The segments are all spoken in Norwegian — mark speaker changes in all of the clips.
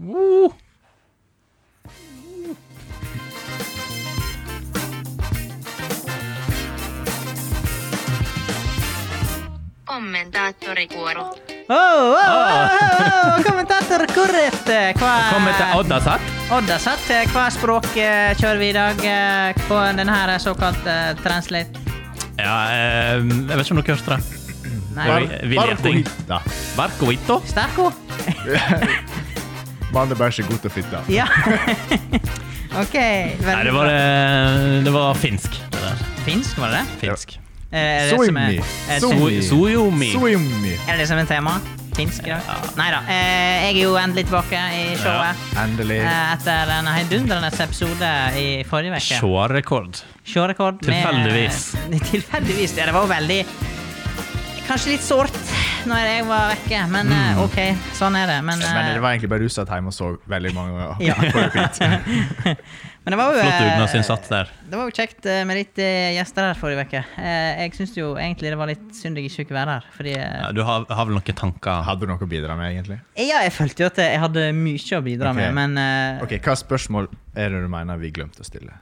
Speaker 1: Woo!
Speaker 2: Commendatore Cuoro.
Speaker 3: Oh, oh, oh, oh, kommentator korrekt! Hva,
Speaker 1: Kommer til Ah. Odda satt.
Speaker 3: Odd har satt. Hva språk eh, kjører vi i dag eh, på denne såkalte translate?
Speaker 1: Ja, eh, jeg vet ikke om dere hørte det.
Speaker 3: Nei.
Speaker 1: Oi, vi leter.
Speaker 4: Barco hitta.
Speaker 1: Barkovito.
Speaker 3: Sterko?
Speaker 4: Mann er bare så god til å fitte.
Speaker 3: Ja. OK.
Speaker 1: Nei, det var, eh, det var finsk. Det der.
Speaker 3: Finsk, var det det?
Speaker 1: Finsk.
Speaker 3: Eh, Er det, som er,
Speaker 4: Soimi.
Speaker 3: er, det,
Speaker 1: So- Soyomi.
Speaker 4: Swimmy.
Speaker 3: er det som er tema? Finsk i dag? Nei da. Eh, jeg er jo endelig tilbake i showet.
Speaker 4: Endelig.
Speaker 3: Eh, etter en heidundrende episode i forrige uke.
Speaker 1: Sjårekord.
Speaker 3: Sjårekord. med-
Speaker 1: Tilfeldigvis.
Speaker 3: Tilfeldigvis, ja. Det var jo veldig Kanskje litt sårt når jeg var vekke, men
Speaker 1: Mm.
Speaker 3: eh, OK, sånn er det. Men,
Speaker 4: Men
Speaker 3: eh,
Speaker 4: det var egentlig bare russatt hjemme og så veldig mange
Speaker 3: Ja.
Speaker 4: på repeat.
Speaker 3: men det var jo
Speaker 1: Flott
Speaker 3: eh,
Speaker 1: dugnadsinnsats der.
Speaker 3: Det var jo kjekt eh, med litt eh, gjester her forrige uke. Eh, Jeg syns jo egentlig det var litt synd jeg ikke kunne være her, fordi eh,
Speaker 1: Ja, Du har, har vel noen tanker?
Speaker 4: Hadde du noe å bidra med, egentlig?
Speaker 3: Ja, jeg følte jo at jeg hadde mye å bidra
Speaker 4: Ok.
Speaker 3: med, men eh,
Speaker 4: Ok, Hva spørsmål er det du mener vi glemte å stille?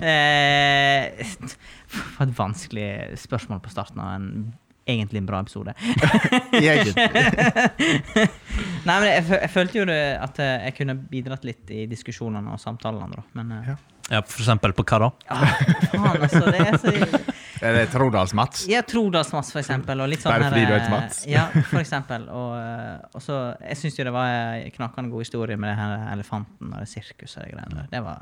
Speaker 3: Eh, For et vanskelig spørsmål på starten av en egentlig en bra episode.
Speaker 4: Egentlig.
Speaker 3: Nei, men jeg, fø- jeg følte jo det at eh, jeg kunne bidratt litt i diskusjonene og samtalene, da. Men eh,
Speaker 4: Ja.
Speaker 1: Ja, for eksempel på hva da?
Speaker 3: ah, faen, altså. Det er så
Speaker 4: Er det Trodals-Mats?
Speaker 3: Jeg tror Dalsmats, for eksempel. Og litt sånn
Speaker 4: Bare
Speaker 3: her,
Speaker 4: fordi du
Speaker 3: eh,
Speaker 4: heter Mats.
Speaker 3: Ja, for eksempel. Og, eh, og så Jeg syns jo det var eh, knakende god historie med den her elefanten og det sirkuset og de greiene der. Det var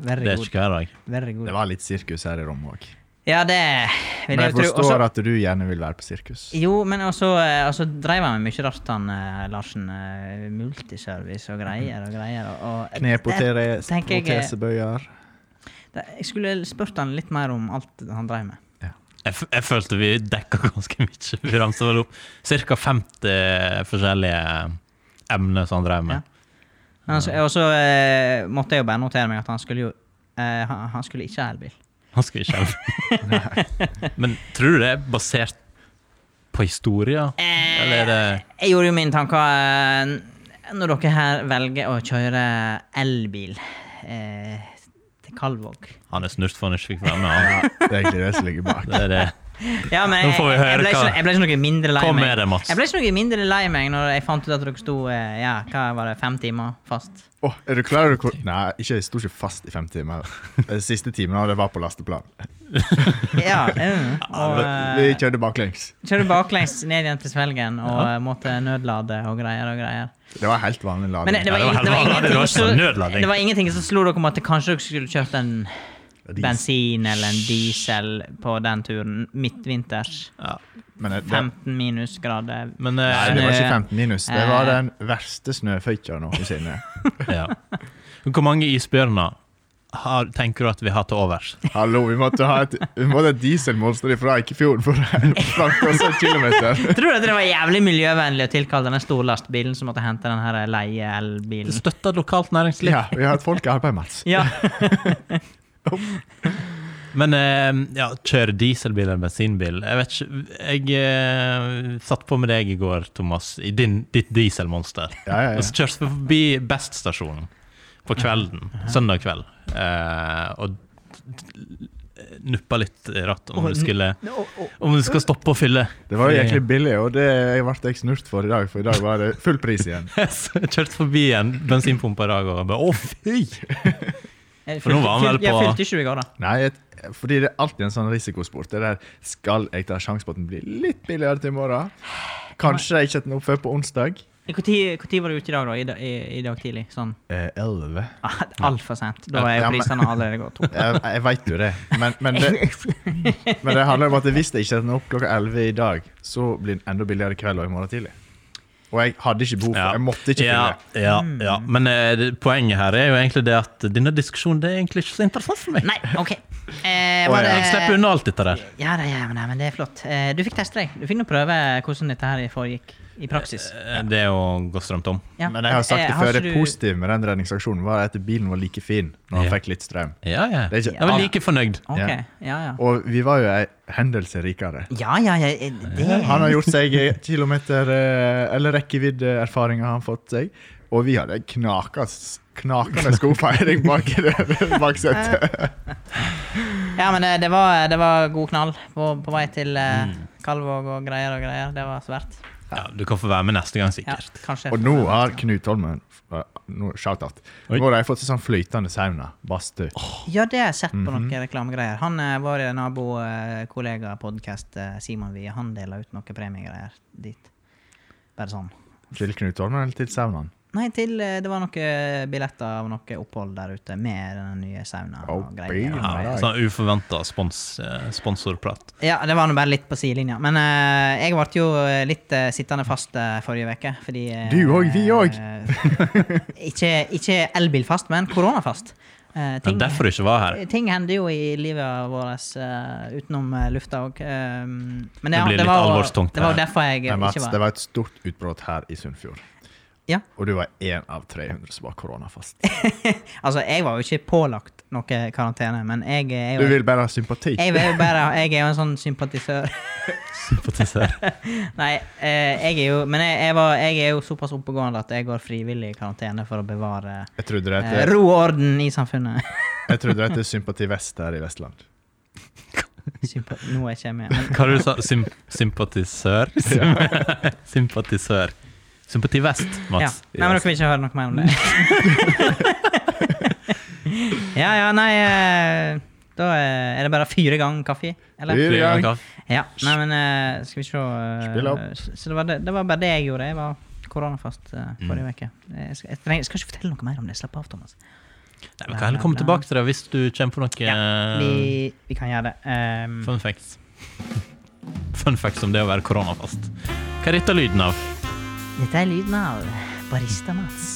Speaker 1: Det
Speaker 3: very
Speaker 1: er
Speaker 3: good.
Speaker 1: ikke hver dag.
Speaker 3: Very good.
Speaker 4: Det var litt sirkus her i rommet òg.
Speaker 3: Ja, det vil
Speaker 4: Men
Speaker 3: jeg jo
Speaker 4: jeg
Speaker 3: tro. Også-
Speaker 4: forstår at du gjerne vil være på sirkus.
Speaker 3: Jo, men også, eh, altså dreiv han med mye rart, han eh, Larsen. eh, Multiservice og greier og greier. Og, og,
Speaker 4: Knepotere-
Speaker 3: Det tenker jeg-
Speaker 4: Protesebøyer.
Speaker 3: Det- Jeg skulle spurt han litt mer om alt han dreiv med.
Speaker 1: Jeg, f jeg følte vi dekka ganske mye. Vi ramsa vel opp ca. 50 forskjellige emner som han drev med.
Speaker 3: Men altså, og så eh, måtte jeg jo bare notere meg at han skulle jo eh, han, han skulle ikke ha elbil.
Speaker 1: Han skulle ikke hjelpe. Men tror du det er basert på historier? Eh, Eller er det
Speaker 3: Jeg gjorde jo mine tanker eh, n- når dere her velger å kjøre elbil eh, til Kalvåg.
Speaker 1: Han er snurt for han ikke fikk være med. Han.
Speaker 4: Det er egentlig det som ligger bak.
Speaker 1: Det er det.
Speaker 3: Ja, men
Speaker 1: Nå
Speaker 3: jeg,
Speaker 1: får vi
Speaker 3: jeg, jeg,
Speaker 1: høre
Speaker 3: ble
Speaker 1: hva-
Speaker 3: ikke, jeg ble ikke noe mindre lei
Speaker 1: Kom
Speaker 3: meg.
Speaker 1: med det, Mats.
Speaker 3: Jeg ble ikke noe mindre lei meg når jeg fant ut at dere sto eh, ja, hva var det, fem timer fast.
Speaker 4: Åh, er du klar over hvor Nei, ikke, jeg sto ikke fast i fem timer. Den siste timen av det var på lasteplan.
Speaker 3: Ja, mm, og
Speaker 4: Vi
Speaker 3: eh,
Speaker 4: kjørte baklengs.
Speaker 3: kjørte baklengs ned igjen til Svelgen og eh, måtte nødlade og greier og greier.
Speaker 4: Det var helt vanlig lading.
Speaker 3: Men det, det, var,
Speaker 1: Ja, det var
Speaker 3: ingen- det, var
Speaker 1: helt vanlig. Det var ikke
Speaker 3: ingenting som-
Speaker 1: noe nødlading.
Speaker 3: det var ingenting som slo dere om at det kanskje dere skulle kjørt en
Speaker 4: Dis-
Speaker 3: bensin eller en diesel på den turen midtvinters.
Speaker 1: Ja.
Speaker 4: Men det, det,
Speaker 3: 15 minusgrader.
Speaker 1: Men eh,
Speaker 4: nei, det var ikke
Speaker 3: Snø.
Speaker 4: 15 minus. Det var
Speaker 3: eh.
Speaker 4: den verste snøføykja noensinne.
Speaker 1: ja. Hvor mange isbjørner har, tenker du at vi har til overs?
Speaker 4: Hallo, vi måtte ha et, vi måtte ha et dieselmonster fra Eikefjorden for å frakte oss en kilometer.
Speaker 3: Tror du at det var jævlig miljøvennlig å tilkalle denne storlastbilen som måtte hente den her leie-elbilen?
Speaker 1: Støtta lokalt næringsliv.
Speaker 4: Ja, vi har hatt folk i arbeid, Mats.
Speaker 3: Ja.
Speaker 1: Men eh, ja, kjøre dieselbil eller bensinbil Jeg vet ikke Jeg eh, satt på med deg i går, Thomas, i din, ditt dieselmonster.
Speaker 4: Ja, ja, ja.
Speaker 1: Og så kjørte vi forbi Best-stasjonen på kvelden, søndag kveld, eh, og nuppa litt i rattet om du skulle Om du skal stoppe å fylle.
Speaker 4: Det var jo egentlig billig, og det ble jeg snurt for i dag, for i dag var det full pris igjen.
Speaker 1: Så Jeg kjørte forbi en bensinpumpe i dag og bare Å, fy! For nå var han vel
Speaker 3: Jeg
Speaker 1: på-
Speaker 3: Eh, fylte 20 i går, da.
Speaker 4: Nei, et, fordi det er alltid en sånn risikosport. Det der, skal jeg ta sjansen på at den blir litt billigere til i morgen? Kanskje jeg ikke setter den opp før på onsdag?
Speaker 3: Eh, Når var du ute i dag, da? I, da- i, i dag tidlig? Sånn
Speaker 4: Eh, 11.
Speaker 3: ah, altfor sent. Da er
Speaker 4: Ja,
Speaker 3: jo
Speaker 4: men-
Speaker 3: prisene allerede gått opp.
Speaker 4: Jeg, jeg veit jo det. Men, men det, men det handler om at hvis jeg ikke setter den opp klokka 11 i dag, så blir den enda billigere i kveld og i morgen tidlig. Og jeg hadde ikke behov for Jeg måtte ikke
Speaker 1: ja,
Speaker 4: fylle.
Speaker 1: ja, ja. Men eh, det- poenget her er jo egentlig det at denne diskusjonen det er egentlig ikke så interessant for meg.
Speaker 3: Nei, OK. Eh,
Speaker 4: Å,
Speaker 3: var det-
Speaker 4: ja.
Speaker 1: Jeg slipper unna alt dette der.
Speaker 3: Ja, da, ja men, nei, men det er flott. Eh, du fikk teste deg. Du fikk nå prøve hvordan dette her foregikk. i praksis?
Speaker 1: Eh, Det er å gå strømt om.
Speaker 3: Ja.
Speaker 4: Men jeg har sagt
Speaker 3: Eh,
Speaker 4: det før,
Speaker 3: ikke du-
Speaker 4: det positive med den redningsaksjonen var at bilen var like fin når han
Speaker 1: Ja.
Speaker 4: fikk litt strøm.
Speaker 1: Ja, ja.
Speaker 4: Det er ikke-
Speaker 1: Jeg var like fornøyd.
Speaker 3: Ok,
Speaker 4: Ja.
Speaker 3: ja, ja.
Speaker 4: Og vi var jo ei hendelse rikere.
Speaker 3: Ja, ja, ja, eh, det
Speaker 4: Han har gjort seg kilometer eh, eller rekkeviddeerfaringer har han fått seg. Og vi hadde knakas, knakende skofeiring bak i det- bak setet.
Speaker 3: Ja, men eh, det var, det var god knall på, på vei til eh,
Speaker 4: Mm.
Speaker 3: Kalvåg og greier og greier. Det var svært.
Speaker 1: Ja, du kan få være med neste gang,
Speaker 3: Ja,
Speaker 1: sikkert.
Speaker 3: kanskje.
Speaker 4: Og nå har Knut Holmen eh, nå- Shout-out.
Speaker 1: Oi.
Speaker 4: Nå har de fått seg sånn flytende sauna. Badstue.
Speaker 3: Ja, det har jeg sett på noen
Speaker 4: Mhm.
Speaker 3: reklamegreier. Han eh, vår nabokollega podcast eh, Simon Wie, han deler ut noen premiegreier dit. Bare sånn.
Speaker 4: Til Knut Holmen eller til saunaen?
Speaker 3: Nei, til eh, det var noen billetter av noe opphold der ute med den nye sauna og
Speaker 4: Oh,
Speaker 3: greier.
Speaker 4: baby.
Speaker 3: og greier.
Speaker 1: Ja, sånn uforventa spons, eh, sponsorprat.
Speaker 3: Ja, det var nå bare litt på sidelinja. Men eh, jeg ble jo litt eh, sittende fast eh, forrige uke, fordi eh,
Speaker 4: Du òg, vi òg.
Speaker 3: eh, ikke ikke elbilfast, men koronafast. Eh,
Speaker 1: Det
Speaker 3: ting,
Speaker 1: er derfor du ikke var her.
Speaker 3: ting hender jo i livet vårt eh, utenom eh, lufta òg. men det,
Speaker 1: Det blir
Speaker 3: det,
Speaker 1: litt
Speaker 3: var,
Speaker 1: alvorstungt,
Speaker 3: det var
Speaker 1: det her.
Speaker 3: derfor jeg eh,
Speaker 4: Nei, Mats,
Speaker 3: ikke
Speaker 4: det
Speaker 3: var
Speaker 4: var et stort utbrudd her i Sunnfjord.
Speaker 3: Ja.
Speaker 4: Og du var én av 300 som var koronafast.
Speaker 3: Altså, jeg var jo ikke pålagt noe karantene, men jeg, eh, er
Speaker 4: Du
Speaker 3: jo-
Speaker 4: vil bare ha sympati.
Speaker 3: jeg, er jo bare, jeg er jo en sånn sympatisør.
Speaker 1: Sympatisør.
Speaker 3: Nei, eh, jeg er jo Men jeg, jeg, var, jeg er jo såpass oppegående at jeg går frivillig i karantene for å bevare
Speaker 4: Jeg trodde det
Speaker 3: eh,
Speaker 4: het
Speaker 3: ro og orden i samfunnet.
Speaker 4: jeg trodde det het Sympati Vest her i Vestland.
Speaker 3: Sympa Nå er jeg ikke med. Men,
Speaker 1: Hva var det du sa du? Sym sympatisør? sympatisør. Sympativest,
Speaker 3: ja.
Speaker 1: Mats.
Speaker 3: Nei, men dere vil ikke høre noe mer om det. ja, ja, nei eh, Da eh, er det bare fire ganger kaffe, eller?
Speaker 4: Fire gang.
Speaker 1: Kaffe.
Speaker 3: Ja. Nei, men eh, skal vi se eh,
Speaker 4: Spill opp.
Speaker 3: Så så det var, det, det var bare det jeg gjorde. Jeg var koronafast eh,
Speaker 4: Mm.
Speaker 3: forrige uke. Jeg skal, jeg, trenger, jeg skal ikke fortelle noe mer om det. Slapp av, Thomas.
Speaker 1: Nei, vi kan heller komme tilbake til det hvis du kommer på noe eh,
Speaker 3: Vi, vi kan gjøre det. Ehm,
Speaker 1: fun facts. Fun facts om det å være koronafast. Hva er dette lyden av?
Speaker 3: Dette er lyden av Barista-Mats.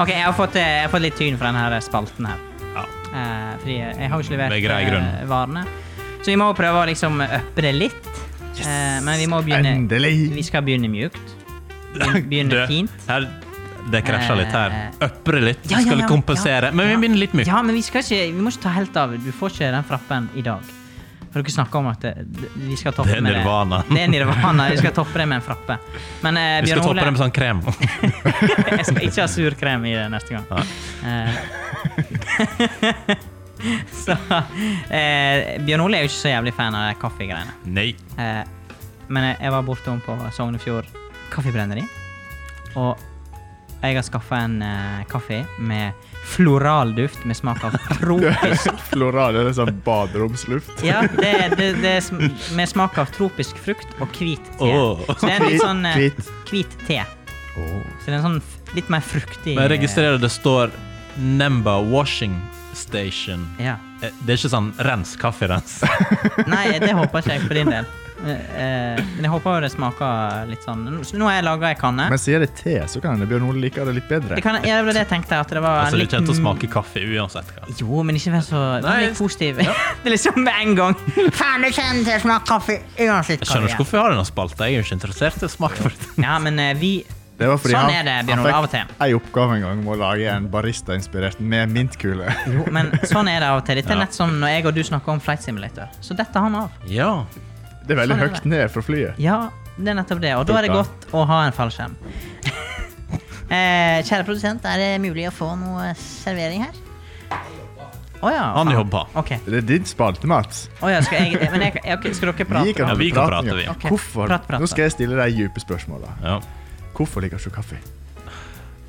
Speaker 3: ok, jeg har, fått, eh, jeg har fått litt tyn for denne her spalten her.
Speaker 1: Ja.
Speaker 3: Eh, fordi jeg har jo ikke levert
Speaker 1: Med grei grunn.
Speaker 3: eh, varene. Så vi må jo prøve å liksom uppe det litt. Eh, men vi må begynne Vi
Speaker 4: Endelig!
Speaker 3: skal begynne mjukt. Begyn-
Speaker 1: Du,
Speaker 3: Begynne fint. Eh,
Speaker 1: Her, det krasja litt her. Øpre litt,
Speaker 3: Ja, ja,
Speaker 1: skal
Speaker 3: ja,
Speaker 1: kompensere.
Speaker 3: ja,
Speaker 1: Men vi
Speaker 3: ja.
Speaker 1: begynner litt mykt.
Speaker 3: Ja, men vi, skal ikke, vi må ikke ta helt av. Du får ikke den frappen i dag. For dere snakker om at det, det- vi skal toppe
Speaker 1: Det er
Speaker 3: med
Speaker 1: nirvana.
Speaker 3: Det. det er nirvana. Vi skal toppe det med en frappe. Men eh,
Speaker 1: Vi skal
Speaker 3: Bjørn
Speaker 1: toppe
Speaker 3: Ole
Speaker 1: det med sånn krem.
Speaker 3: Jeg skal ikke ha surkrem i det neste gang. Eh, så eh, Bjørn Ole er jo ikke så jævlig fan av de kaffegreiene.
Speaker 1: Nei.
Speaker 3: Eh, men jeg, jeg var bortom på Sognefjord Kaffebrenneri. Og jeg har skaffa en eh, kaffe med floralduft med smak av tropisk
Speaker 4: Floral er det sånn baderomsluft.
Speaker 3: Ja, det, det, det er sm med smak av tropisk frukt og hvit te.
Speaker 1: Åh.
Speaker 3: Så det er en litt sånn eh,
Speaker 4: Hvit-
Speaker 3: hvit te. Så det er en sånn f- litt mer fruktig
Speaker 1: Men jeg registrerer det står Nemba Washing Station.
Speaker 3: Ja.
Speaker 1: Eh, Det er ikke sånn rens kafferens.
Speaker 3: Nei, det håper ikke jeg for din del. Eh, eh, Men jeg håper jo det smaker litt sånn Nå- Nå har jeg laga ei kanne.
Speaker 4: Men sier det te, så kan det Bjørn Ole like det litt bedre.
Speaker 3: Det, kan, ja, det var det jeg tenkte. At det var
Speaker 1: Altså, det
Speaker 3: litt-
Speaker 1: kommer til å smake kaffe uansett hva.
Speaker 3: Jo, men ikke vær så vær
Speaker 1: Nei,
Speaker 3: litt positiv. det er liksom med en gang. Faen, det kommer til å smake kaffe uansett
Speaker 1: Jeg skjønner
Speaker 3: hva vi
Speaker 1: ikke
Speaker 3: gjør.
Speaker 1: hvorfor jeg har denne spalta. Jeg er jo ikke interessert i å smake for det.
Speaker 3: Ja, men eh, vi
Speaker 4: Det var fordi
Speaker 3: Sånn
Speaker 4: han-
Speaker 3: er det, Bjørn
Speaker 4: han
Speaker 3: Ole, av og
Speaker 4: fikk
Speaker 3: til.
Speaker 4: En oppgave en gang om å lage en barista-inspirert med mintkule.
Speaker 3: Jo, men sånn er det av og til. Dette er
Speaker 1: Ja.
Speaker 3: nett som når jeg og du snakker om flight simulator. Så detter han av.
Speaker 1: Ja.
Speaker 4: Det er veldig
Speaker 3: Sånn er det.
Speaker 4: høyt ned fra flyet.
Speaker 3: Ja, det er nettopp det. Og da er det godt å ha en fallskjerm. eh, kjære produsent, er det mulig å få noe servering her? Å ja.
Speaker 1: Han
Speaker 3: faen.
Speaker 1: jobba.
Speaker 3: Ok.
Speaker 4: Det er din spalte, Mats.
Speaker 3: Å ja, skal jeg, men jeg, ok, skal dere prate?
Speaker 4: Vi kan,
Speaker 1: Ja, vi kan prate,
Speaker 4: ja.
Speaker 1: vi.
Speaker 3: Ok,
Speaker 4: Hvorfor?
Speaker 3: prat, prat,
Speaker 4: Nå skal jeg stille deg dype spørsmål. da.
Speaker 1: ja.
Speaker 4: Hvorfor liker du ikke kaffe?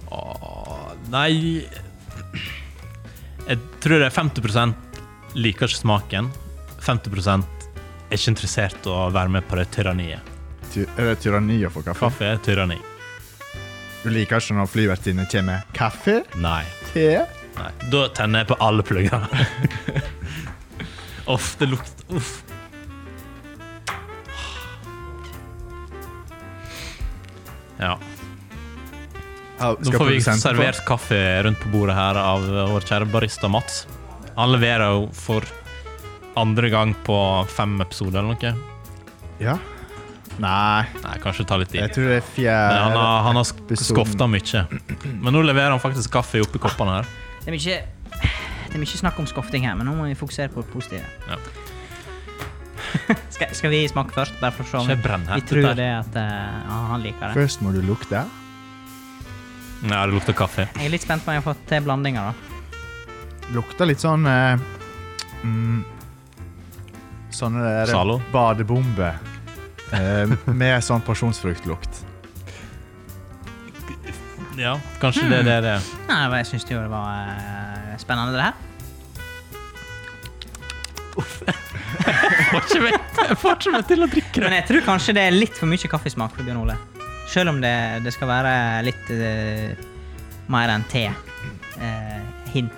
Speaker 1: Åh, Nei Jeg tror det er 50 liker ikke smaken. 50 er ikke interessert i å være med på det tyranniet.
Speaker 4: Ty er det tyranni å få kaffe?
Speaker 1: Kaffe er tyranni.
Speaker 4: Du liker ikke når flyvertinnene kommer med kaffe,
Speaker 1: Nei.
Speaker 4: te
Speaker 1: Nei. Da tenner jeg på alle plugger. Uff, det lukter Uff. Ja.
Speaker 4: Ja,
Speaker 1: Nå
Speaker 4: skal
Speaker 1: får vi
Speaker 4: produsenten få-
Speaker 1: servert kaffe rundt på bordet her av vår kjære barista Mats. Han leverer jo for andre gang på fem episoder eller noe.
Speaker 4: Ja. Nei,
Speaker 1: Nei, kanskje det tar litt
Speaker 4: jeg
Speaker 1: tid.
Speaker 4: tror det er
Speaker 1: Men han
Speaker 4: fjerde
Speaker 1: har, han har sk-
Speaker 4: episoden.
Speaker 1: skofta mye. Men nå leverer han faktisk kaffe oppi koppene her.
Speaker 3: Det er mye, det er mye snakk om skofting her, men nå må vi fokusere på det positive.
Speaker 1: Ja.
Speaker 3: skal, skal vi smake først, bare for å se om
Speaker 1: Ikke brenn
Speaker 3: vi
Speaker 1: hette
Speaker 3: tror
Speaker 1: der.
Speaker 3: det at eh, ja, han liker det.
Speaker 4: Først må du lukte.
Speaker 1: Nei, det lukter kaffe.
Speaker 3: Jeg er litt spent på om jeg har fått til blandinger, da.
Speaker 4: Lukter litt sånn eh, mm, Sånne der
Speaker 1: Zalo?
Speaker 4: badebomber. eh, med sånn pasjonsfruktlukt.
Speaker 1: Ja, kanskje det, det er det.
Speaker 3: Nei, men jeg syns jo det var eh, spennende, det her.
Speaker 1: Får ikke meg, jeg får ikke meg til å drikke det.
Speaker 3: Men jeg tror kanskje det er litt for mye kaffesmak for Bjørn Ole. Selv om det, det skal være litt eh, mer enn te. Eh, hint.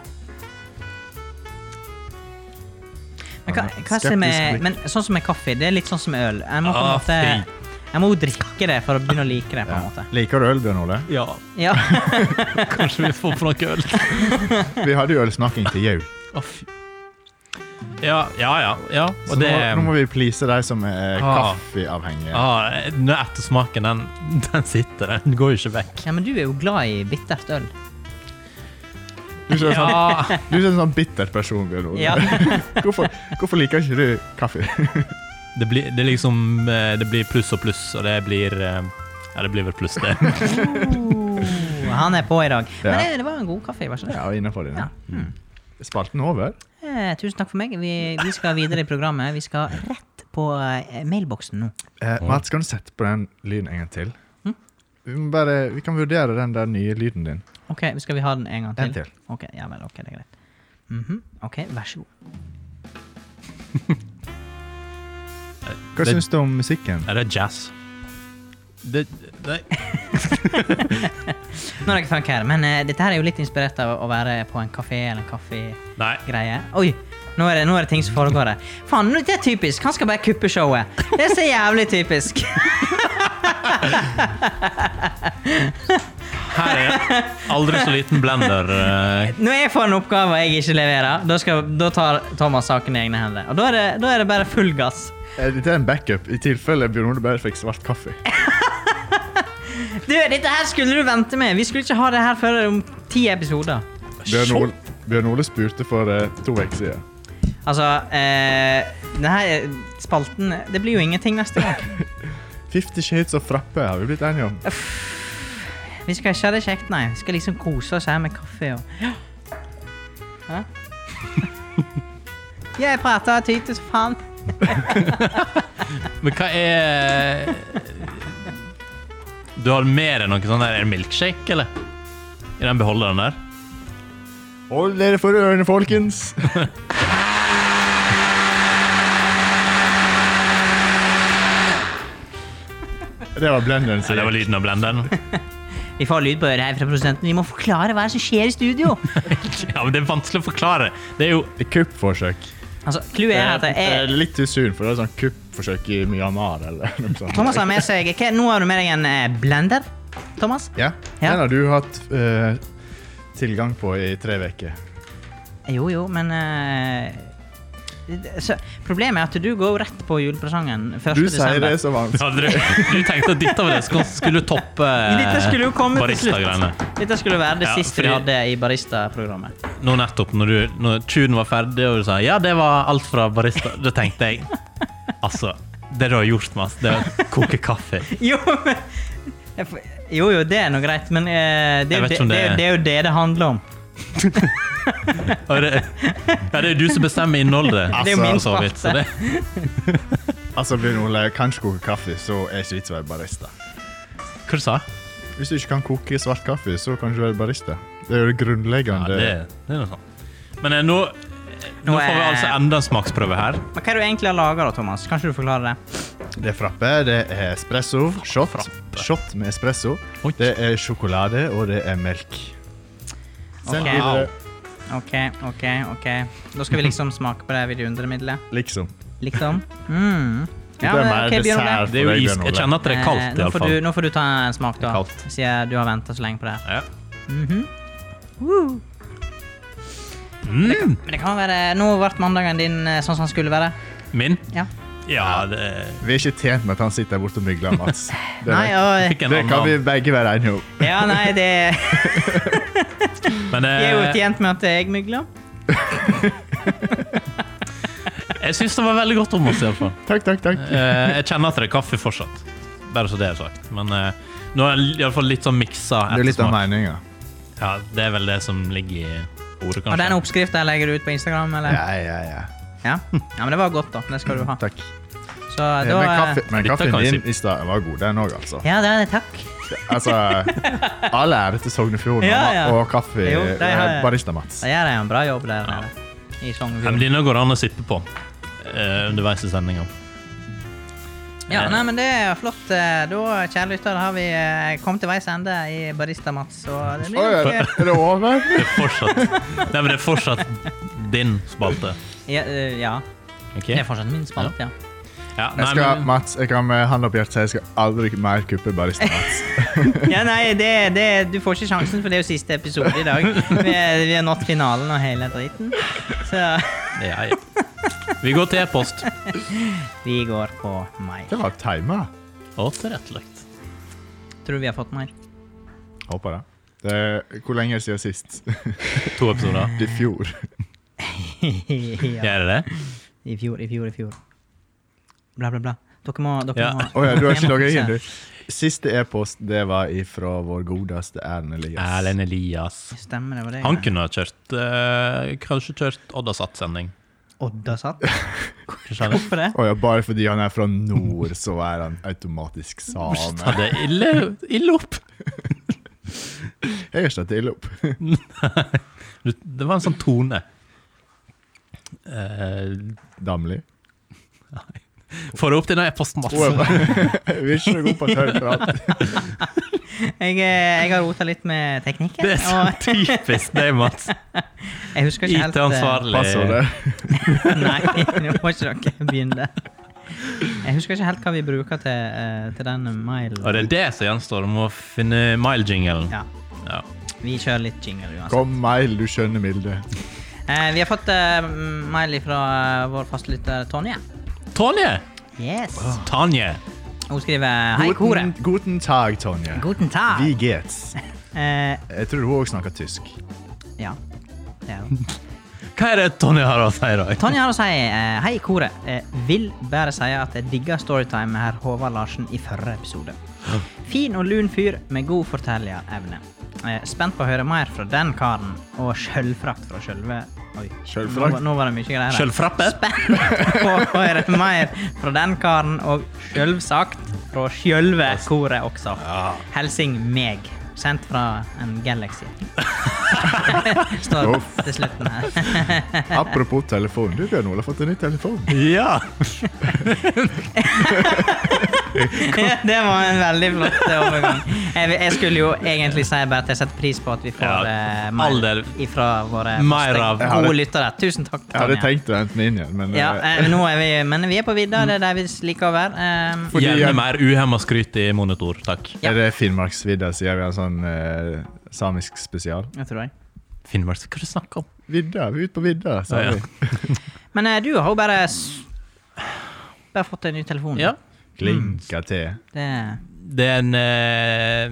Speaker 3: Men, hva, hva som er,
Speaker 4: Skeptisk blikk.
Speaker 3: men sånn som med kaffe, det er litt sånn som med øl. Jeg må på en
Speaker 1: Ah,
Speaker 3: måte
Speaker 1: fy.
Speaker 3: jeg må jo drikke det for å begynne å like det. på en måte.
Speaker 4: Liker du øl, Bjørn Ole?
Speaker 1: Ja,
Speaker 3: Ja,
Speaker 1: kanskje vi får på noe øl.
Speaker 4: Vi hadde jo ølsmaking til jul.
Speaker 1: Å, fy. Ja, ja, ja. ja.
Speaker 4: Så
Speaker 1: Og det
Speaker 4: nå, nå må vi please de som er
Speaker 1: Ah.
Speaker 4: kaffeavhengige.
Speaker 1: ah, nå er Ettersmaken, den, den sitter. Den går jo ikke vekk.
Speaker 3: ja, Men du er jo glad i bittert øl.
Speaker 4: Du er sånn,
Speaker 1: Ja.
Speaker 4: du er en sånn bitter person, Bjørn Ole.
Speaker 3: Ja.
Speaker 4: Hvorfor, hvorfor liker ikke du kaffe?
Speaker 1: Det blir, det er liksom, eh, det blir pluss og pluss, og det blir eh, Ja, det blir vel pluss, det.
Speaker 3: Oh, han er på i dag. Men
Speaker 4: Ja.
Speaker 3: det, det var en god kaffe. Vær så snill.
Speaker 4: Ja, innenfor det.
Speaker 3: Ja. Mm.
Speaker 4: Spalten over?
Speaker 3: Eh, tusen takk for meg. Vi, vi skal videre i programmet. Vi skal rett på eh, mailboksen nå.
Speaker 4: Eh, Mats, kan du sette på den lyden en gang til?
Speaker 1: Hm?
Speaker 4: Vi, må bare, vi kan vurdere den der nye lyden din.
Speaker 3: Ok, Skal vi ha den en gang til?
Speaker 4: En til.
Speaker 3: Ok, ja vel, ok, det er greit. Mhm, Ok, vær så god.
Speaker 4: Hva
Speaker 1: Det-
Speaker 4: syns du om musikken?
Speaker 1: Er det jazz? Det, nei.
Speaker 3: Nå er det ikke funk her, men eh, dette her er jo litt inspirert av å være på en kafé eller en kaffegreie.
Speaker 1: nei.
Speaker 3: Oi! Nå er, det, nå er det ting som foregår her. Faen, nå- det er typisk! Han skal bare kuppe showet. Det er så jævlig typisk.
Speaker 1: Her er aldri så liten blender. eh,
Speaker 3: Når jeg får en oppgave jeg ikke leverer, da, skal, da tar Thomas saken i egne hender. Og da er det, da er det bare full gass.
Speaker 4: Eh, Dette er en backup i tilfelle Bjørn Ole bare fikk svart kaffe.
Speaker 3: Du, dette her skulle du vente med! Vi skulle ikke ha det her før om ti episoder.
Speaker 4: Bjørn Ole, Bjørn Ole spurte for eh, to uker siden.
Speaker 3: Altså, eh, det her spalten Det blir jo ingenting neste gang.
Speaker 4: Fifty Shades of Frappe har vi blitt enige om.
Speaker 3: Vi skal ikke ha det kjekt, nei. Vi skal liksom kose oss her med kaffe og Hæ? Jeg prater og tyter som faen.
Speaker 1: Men hva er Du har mer enn noe sånn der Er det milkshake, eller? I den beholderen der?
Speaker 4: Hold dere for ørene, folkens! Det var blenderen
Speaker 1: Ja,
Speaker 4: sin.
Speaker 1: det var lyden av blenderen.
Speaker 3: Vi får lyd på øret her fra produsenten. Vi må forklare hva som skjer i studio.
Speaker 1: Ja, men det er vanskelig å forklare. Det er jo
Speaker 4: Det er Kuppforsøk.
Speaker 3: Altså, Clouet er at
Speaker 4: Det er
Speaker 3: jeg
Speaker 4: litt usun, for det er sånn kuppforsøk i Myanmar eller noe sånt.
Speaker 3: Thomas har med seg hva, Nå har du med deg en eh, blender, Thomas.
Speaker 4: Ja,
Speaker 3: Ja.
Speaker 4: Den har du hatt eh, tilgang på i tre uker.
Speaker 3: Jo, jo, men eh, det- så, Problemet er at du går rett på julepresangen 1.
Speaker 4: Du sier det
Speaker 3: desember.
Speaker 4: så varmt.
Speaker 1: hadde du, du tenkte at dette var det som skulle toppe eh,
Speaker 3: Dette skulle jo komme til
Speaker 1: barista-greiene.
Speaker 3: slutt. Dette skulle være det
Speaker 1: Ja,
Speaker 3: siste
Speaker 1: fordi-
Speaker 3: vi hadde i Barista-programmet.
Speaker 1: Nå nettopp, når, du, når tunen var ferdig og du sa ja, det var alt fra barista, da tenkte jeg altså, det du har gjort, Mads, det er å koke kaffe.
Speaker 3: Jo, men jeg får- Jo, jo, det er nå greit, men eh,
Speaker 1: Jeg
Speaker 3: det, er jo
Speaker 1: vet
Speaker 3: det,
Speaker 1: ikke om
Speaker 3: det,
Speaker 1: det
Speaker 3: er jo-
Speaker 1: er-
Speaker 3: det er jo det det handler om.
Speaker 1: Og det, ja, det er jo du som bestemmer innholdet.
Speaker 3: Det er jo min
Speaker 1: for så vidt, så det,
Speaker 4: Altså, Bjørn Ole, kan ikke koke kaffe, så er ikke vits å være barista.
Speaker 1: hva du sa
Speaker 4: Hvis du ikke kan koke svart kaffe, så kan du ikke være barista. Det er jo det
Speaker 1: ja,
Speaker 4: grunnleggende.
Speaker 1: det, det er noe sånt. Men eh, nå, nå
Speaker 3: Nå er-
Speaker 1: får vi altså enda en smaksprøve her.
Speaker 3: Men hva er det du egentlig har laga, da, Thomas? Kanskje du forklarer det?
Speaker 4: det. er frappe, det er espresso, shot, shot med espresso,
Speaker 1: Oi.
Speaker 4: det er sjokolade, og det er melk. Send
Speaker 3: Ok.
Speaker 4: videre,
Speaker 3: OK, OK, ok. Da skal vi liksom smake på det vidundermiddelet.
Speaker 4: liksom.
Speaker 3: Liksom. Mm.
Speaker 4: Det er mer
Speaker 3: ok, Bjørn Ole.
Speaker 4: dessert.
Speaker 1: Det er jo
Speaker 4: Fornøyd,
Speaker 1: is.
Speaker 4: Bjørn Ole.
Speaker 1: Jeg kjenner at det er
Speaker 3: Eh,
Speaker 1: kaldt,
Speaker 3: nå får, du,
Speaker 1: iallfall.
Speaker 3: nå får du ta en smak, da.
Speaker 1: Kaldt.
Speaker 3: Siden du har venta så lenge på det her.
Speaker 1: Ja.
Speaker 3: Woo.
Speaker 1: Mm,
Speaker 3: Men det kan være Nå ble mandagen din eh, sånn som den skulle være.
Speaker 1: min?
Speaker 3: Ja.
Speaker 1: Ja, det
Speaker 4: Vi er ikke tjent med at han sitter der borte og mygler, Mats. Det,
Speaker 3: Nei, og,
Speaker 1: fikk en
Speaker 4: det kan vi
Speaker 1: annen.
Speaker 4: begge være enige om.
Speaker 3: ja, nei, det
Speaker 1: Men
Speaker 3: Jeg er jo
Speaker 1: eh,
Speaker 3: tjent med at jeg mygler.
Speaker 1: jeg syns det var veldig godt om oss, iallfall.
Speaker 4: Takk, takk, takk.
Speaker 1: Eh, jeg kjenner at det er kaffe fortsatt. Bare så det er sagt. Men eh, nå er det iallfall litt sånn miksa
Speaker 4: Det er litt av
Speaker 1: ettersmak.
Speaker 4: meninga.
Speaker 1: Ja, det er vel det som ligger i ordet,
Speaker 3: Og den
Speaker 1: kanskje.
Speaker 3: oppskriften legger du ut på Instagram, eller? Ja.
Speaker 4: Ja, ja, ja.
Speaker 3: ja. men det var godt, da. Det skal du ha.
Speaker 4: Takk.
Speaker 3: Så
Speaker 4: Eh, Men
Speaker 3: da
Speaker 4: kaffe- men
Speaker 1: Dette
Speaker 4: kaffen
Speaker 1: kan jeg
Speaker 4: din i stad var god, den òg, altså.
Speaker 3: Ja, det er det. Takk.
Speaker 4: altså. All ære til Sognefjorden
Speaker 3: Ja, ja.
Speaker 4: og kaffe eh,
Speaker 3: Jo, det har-
Speaker 4: Barista-Mats.
Speaker 3: Da gjør de en bra jobb der
Speaker 1: Ja.
Speaker 3: nede. I
Speaker 1: Ja, men
Speaker 3: Sognefjord.
Speaker 1: Denne går an å sippe på eh, underveis i sendinga.
Speaker 3: Ja, nei, men det er flott. Eh, Da, kjære lytter, da har vi eh, kommet til veis ende i Barista-Mats. Og det
Speaker 4: Oi,
Speaker 3: blir
Speaker 4: er
Speaker 3: nok, eh,
Speaker 4: det over?
Speaker 1: Det er fortsatt, nei, men det er fortsatt din spalte.
Speaker 3: eh, ja, eh, ja.
Speaker 1: ok?
Speaker 3: Det er fortsatt min spalt, ja.
Speaker 1: Ja,
Speaker 4: Jeg
Speaker 1: nei,
Speaker 4: skal,
Speaker 1: men,
Speaker 4: Mats, jeg kan med hand opp hjertet si jeg skal aldri mer kuppe Barista-Mats.
Speaker 3: Ja, nei, det, det, du får ikke sjansen, for det er jo siste episode i dag. Vi, er, vi har nådd finalen og hele dritten. Så
Speaker 1: ja, ja. Vi går til e-post.
Speaker 3: vi går på mail.
Speaker 4: Det var timer.
Speaker 1: Og tilrettelagt.
Speaker 3: Tror du vi har fått mail?
Speaker 4: Håper det. det er, hvor lenge er det siden sist?
Speaker 1: To episoder.
Speaker 4: I fjor.
Speaker 3: ja.
Speaker 1: Er det det?
Speaker 3: I fjor, i fjor, i fjor. Bla, bla, bla. Dere må, dere
Speaker 1: Ja.
Speaker 3: må
Speaker 4: Å ja, du har
Speaker 3: dere
Speaker 4: ikke
Speaker 3: må
Speaker 4: logget
Speaker 3: fikse.
Speaker 4: inn, du. Siste e-post det var ifra vår godeste Erlend Elias.
Speaker 1: Erlend Elias.
Speaker 3: Stemmer, det var det.
Speaker 1: Han kunne ha kjørt eh, Kanskje kjørt Oddasat-sending.
Speaker 3: Odda satt.
Speaker 1: Kanskje han-
Speaker 3: Hvorfor det?
Speaker 4: Å ja, bare fordi han er fra nord, så er han automatisk
Speaker 1: Hvorfor
Speaker 4: same.
Speaker 1: tar det ille, ille opp?
Speaker 4: Jeg er ikke til opp.
Speaker 1: Du, Det var en sånn tone. Uh,
Speaker 4: Damli.
Speaker 1: Får du opp denne e-posten, Mats?
Speaker 4: Hun er bare- Jeg er ikke så god på tørrprat.
Speaker 3: Jeg, eh, jeg har rota litt med teknikken.
Speaker 1: Det er så
Speaker 3: Og
Speaker 1: typisk deg, Mats.
Speaker 3: jeg husker ikke helt eh,
Speaker 1: IT-ansvarlig.
Speaker 4: Passordet.
Speaker 3: Nei, nå må ikke dere begynne. Jeg husker ikke helt hva vi bruker til, eh, til den mailen.
Speaker 1: Og det er det som gjenstår. Du må finne mile-jinglen.
Speaker 3: Ja,
Speaker 1: Ja.
Speaker 3: vi kjører litt jingle uansett.
Speaker 4: Kom, mail, du skjønner milde.
Speaker 3: Eh, vi har fått eh, mail fra eh, vår fastlytter Tonje.
Speaker 1: Tonje!
Speaker 3: Yes.
Speaker 1: Tanje.
Speaker 3: Hun skriver Hei, koret.
Speaker 4: Ah. guten tag, Tonje.
Speaker 3: Guten tag.
Speaker 4: Vi gets.
Speaker 3: Eh,
Speaker 4: Jeg tror hun òg snakker tysk.
Speaker 3: ja. Det er hun.
Speaker 1: Hva er det Tonje har å si i dag?
Speaker 3: Tonje har å si eh, Hei, koret. Eh, vil bare si at jeg digger Storytime med herr Håvard Larsen i forrige episode. Fin og lun fyr med god fortellerevne. Eh, spent på å høre mer fra den karen, og sjølfrakt fra sjølve Oi.
Speaker 4: Sjølfrakt?
Speaker 3: Nå, nå var det mye greier. her.
Speaker 1: Sjølfrappet?
Speaker 3: på å høre mer fra den karen, og selvsagt fra sjølve koret også. Helsing meg. Sendt fra en Galaxy. Står
Speaker 4: Uff.
Speaker 3: til slutten her.
Speaker 4: Apropos telefon. Du, Bjørn Ole, har fått en ny telefon.
Speaker 1: Ja.
Speaker 3: Det var en veldig flott eh, overgang. Jeg, jeg skulle jo egentlig si bare at jeg setter pris på at vi får
Speaker 1: Ja,
Speaker 3: eh,
Speaker 1: all
Speaker 3: mer
Speaker 1: del.
Speaker 3: ifra våre
Speaker 1: Mer av-
Speaker 4: Jeg hadde-
Speaker 3: gode lyttere. Tusen takk,
Speaker 4: Jeg hadde
Speaker 3: Tonje.
Speaker 4: tenkt å hente den inn igjen, men
Speaker 3: Ja,
Speaker 4: eh,
Speaker 3: eh, nå er vi, men vi er på vidda, det er der vi liker å være. Eh,
Speaker 4: Fordi
Speaker 1: Gjerne
Speaker 4: jeg-
Speaker 1: mer uhemma skryt i monitor, takk.
Speaker 3: Ja.
Speaker 4: Er det Finnmarksvidda, sier vi har en sånn eh, samisk spesial?
Speaker 3: jeg tror jeg.
Speaker 1: Finnmark, hva er det du snakker om?
Speaker 4: Vidda, vi er ute på vidda, sa
Speaker 1: Ja, ja.
Speaker 4: vi.
Speaker 3: Men eh, du har jo bare s- Bare fått en ny telefon.
Speaker 1: Ja.
Speaker 4: Klinka til.
Speaker 3: Det,
Speaker 1: Det er en eh,